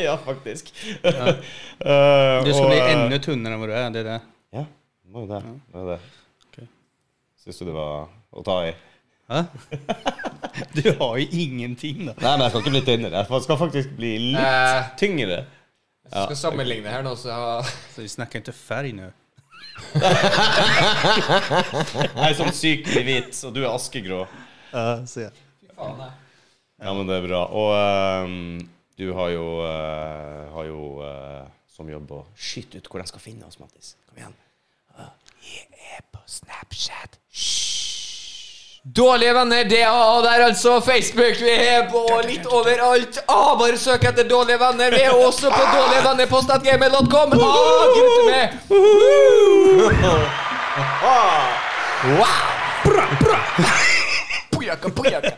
Speaker 4: ja, faktisk. Eh,
Speaker 1: Du skal
Speaker 4: og,
Speaker 1: bli
Speaker 4: eh,
Speaker 1: enda tynnere enn hvor du er. Det er det.
Speaker 4: Ja, det var jo det. det, var det.
Speaker 1: Ok.
Speaker 4: Syns du det var å ta i?
Speaker 1: Hæ? Du har jo ingenting, da.
Speaker 4: Nei, men jeg skal ikke bli tynnere. Jeg skal faktisk bli litt
Speaker 3: Eh,
Speaker 4: tyngre. Ja.
Speaker 3: skal sammenligne her nå, så jeg-
Speaker 1: Så vi snakker ikke ferg nå.
Speaker 4: Jeg er sånn sykelig hvit, og du er askegrå.
Speaker 1: Ja, se.
Speaker 3: Fy faen, jeg.
Speaker 4: Ja, men det er bra. Og ehm, du har jo, eh, har jo eh, som jobb å skyte ut hvor de skal finne oss, Mattis. Kom igjen. Ja. Vi er på Snapchat. Hysj.
Speaker 3: Dårlige venner, det er der altså. alltså. Facebook, vi er på litt overalt. Ah, bare søk etter Dårlige venner. Vi er også på dårligvennerpost.gmail.com. Ah, gutter med. Wow. Bra, bra. Pujaka, pujaka.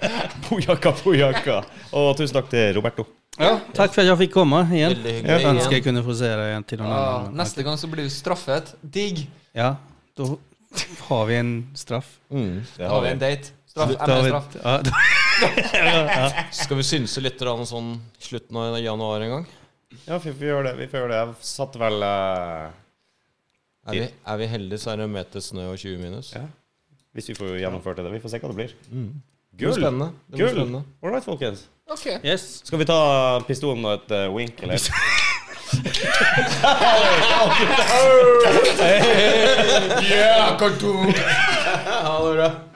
Speaker 4: Pojaka, pojaka. Og tusen takk til Roberto.
Speaker 1: Ja, takk for at jeg fikk komme igjen.
Speaker 6: Veldig hyggelig
Speaker 1: Jeg
Speaker 6: igjen.
Speaker 1: ønsker jeg kunne få se deg igjen til noen
Speaker 3: Ah,
Speaker 1: annen.
Speaker 3: neste gang så blir du straffet. Digg.
Speaker 1: Ja, da har vi en straff.
Speaker 6: Mm.
Speaker 4: Det
Speaker 3: Da
Speaker 4: har
Speaker 3: har
Speaker 4: vi.
Speaker 3: vi en date. Straff.
Speaker 1: Da har vi-
Speaker 3: ME-straff.
Speaker 1: Ja, da-
Speaker 6: Skal vi synse litt grann sånn slutten av januar en gang?
Speaker 4: Ja, vi får gjøre det. Vi får gjøre det. Jeg satt vel eh,
Speaker 6: Er vi, er vi heldige, så er det en meter snø og 20 minus.
Speaker 4: Ja. Hvis vi får gjennomført det. Vi får se hva det blir.
Speaker 6: Mm. Det blir
Speaker 4: Gull!
Speaker 6: spennende. Det blir
Speaker 4: Gull!
Speaker 6: spennende.
Speaker 4: All right, folkens.
Speaker 3: Ok.
Speaker 1: Yes.
Speaker 4: Skal vi ta pistolen og et eh, wink, eller?
Speaker 3: Ja, kontor.
Speaker 6: Ha det bra.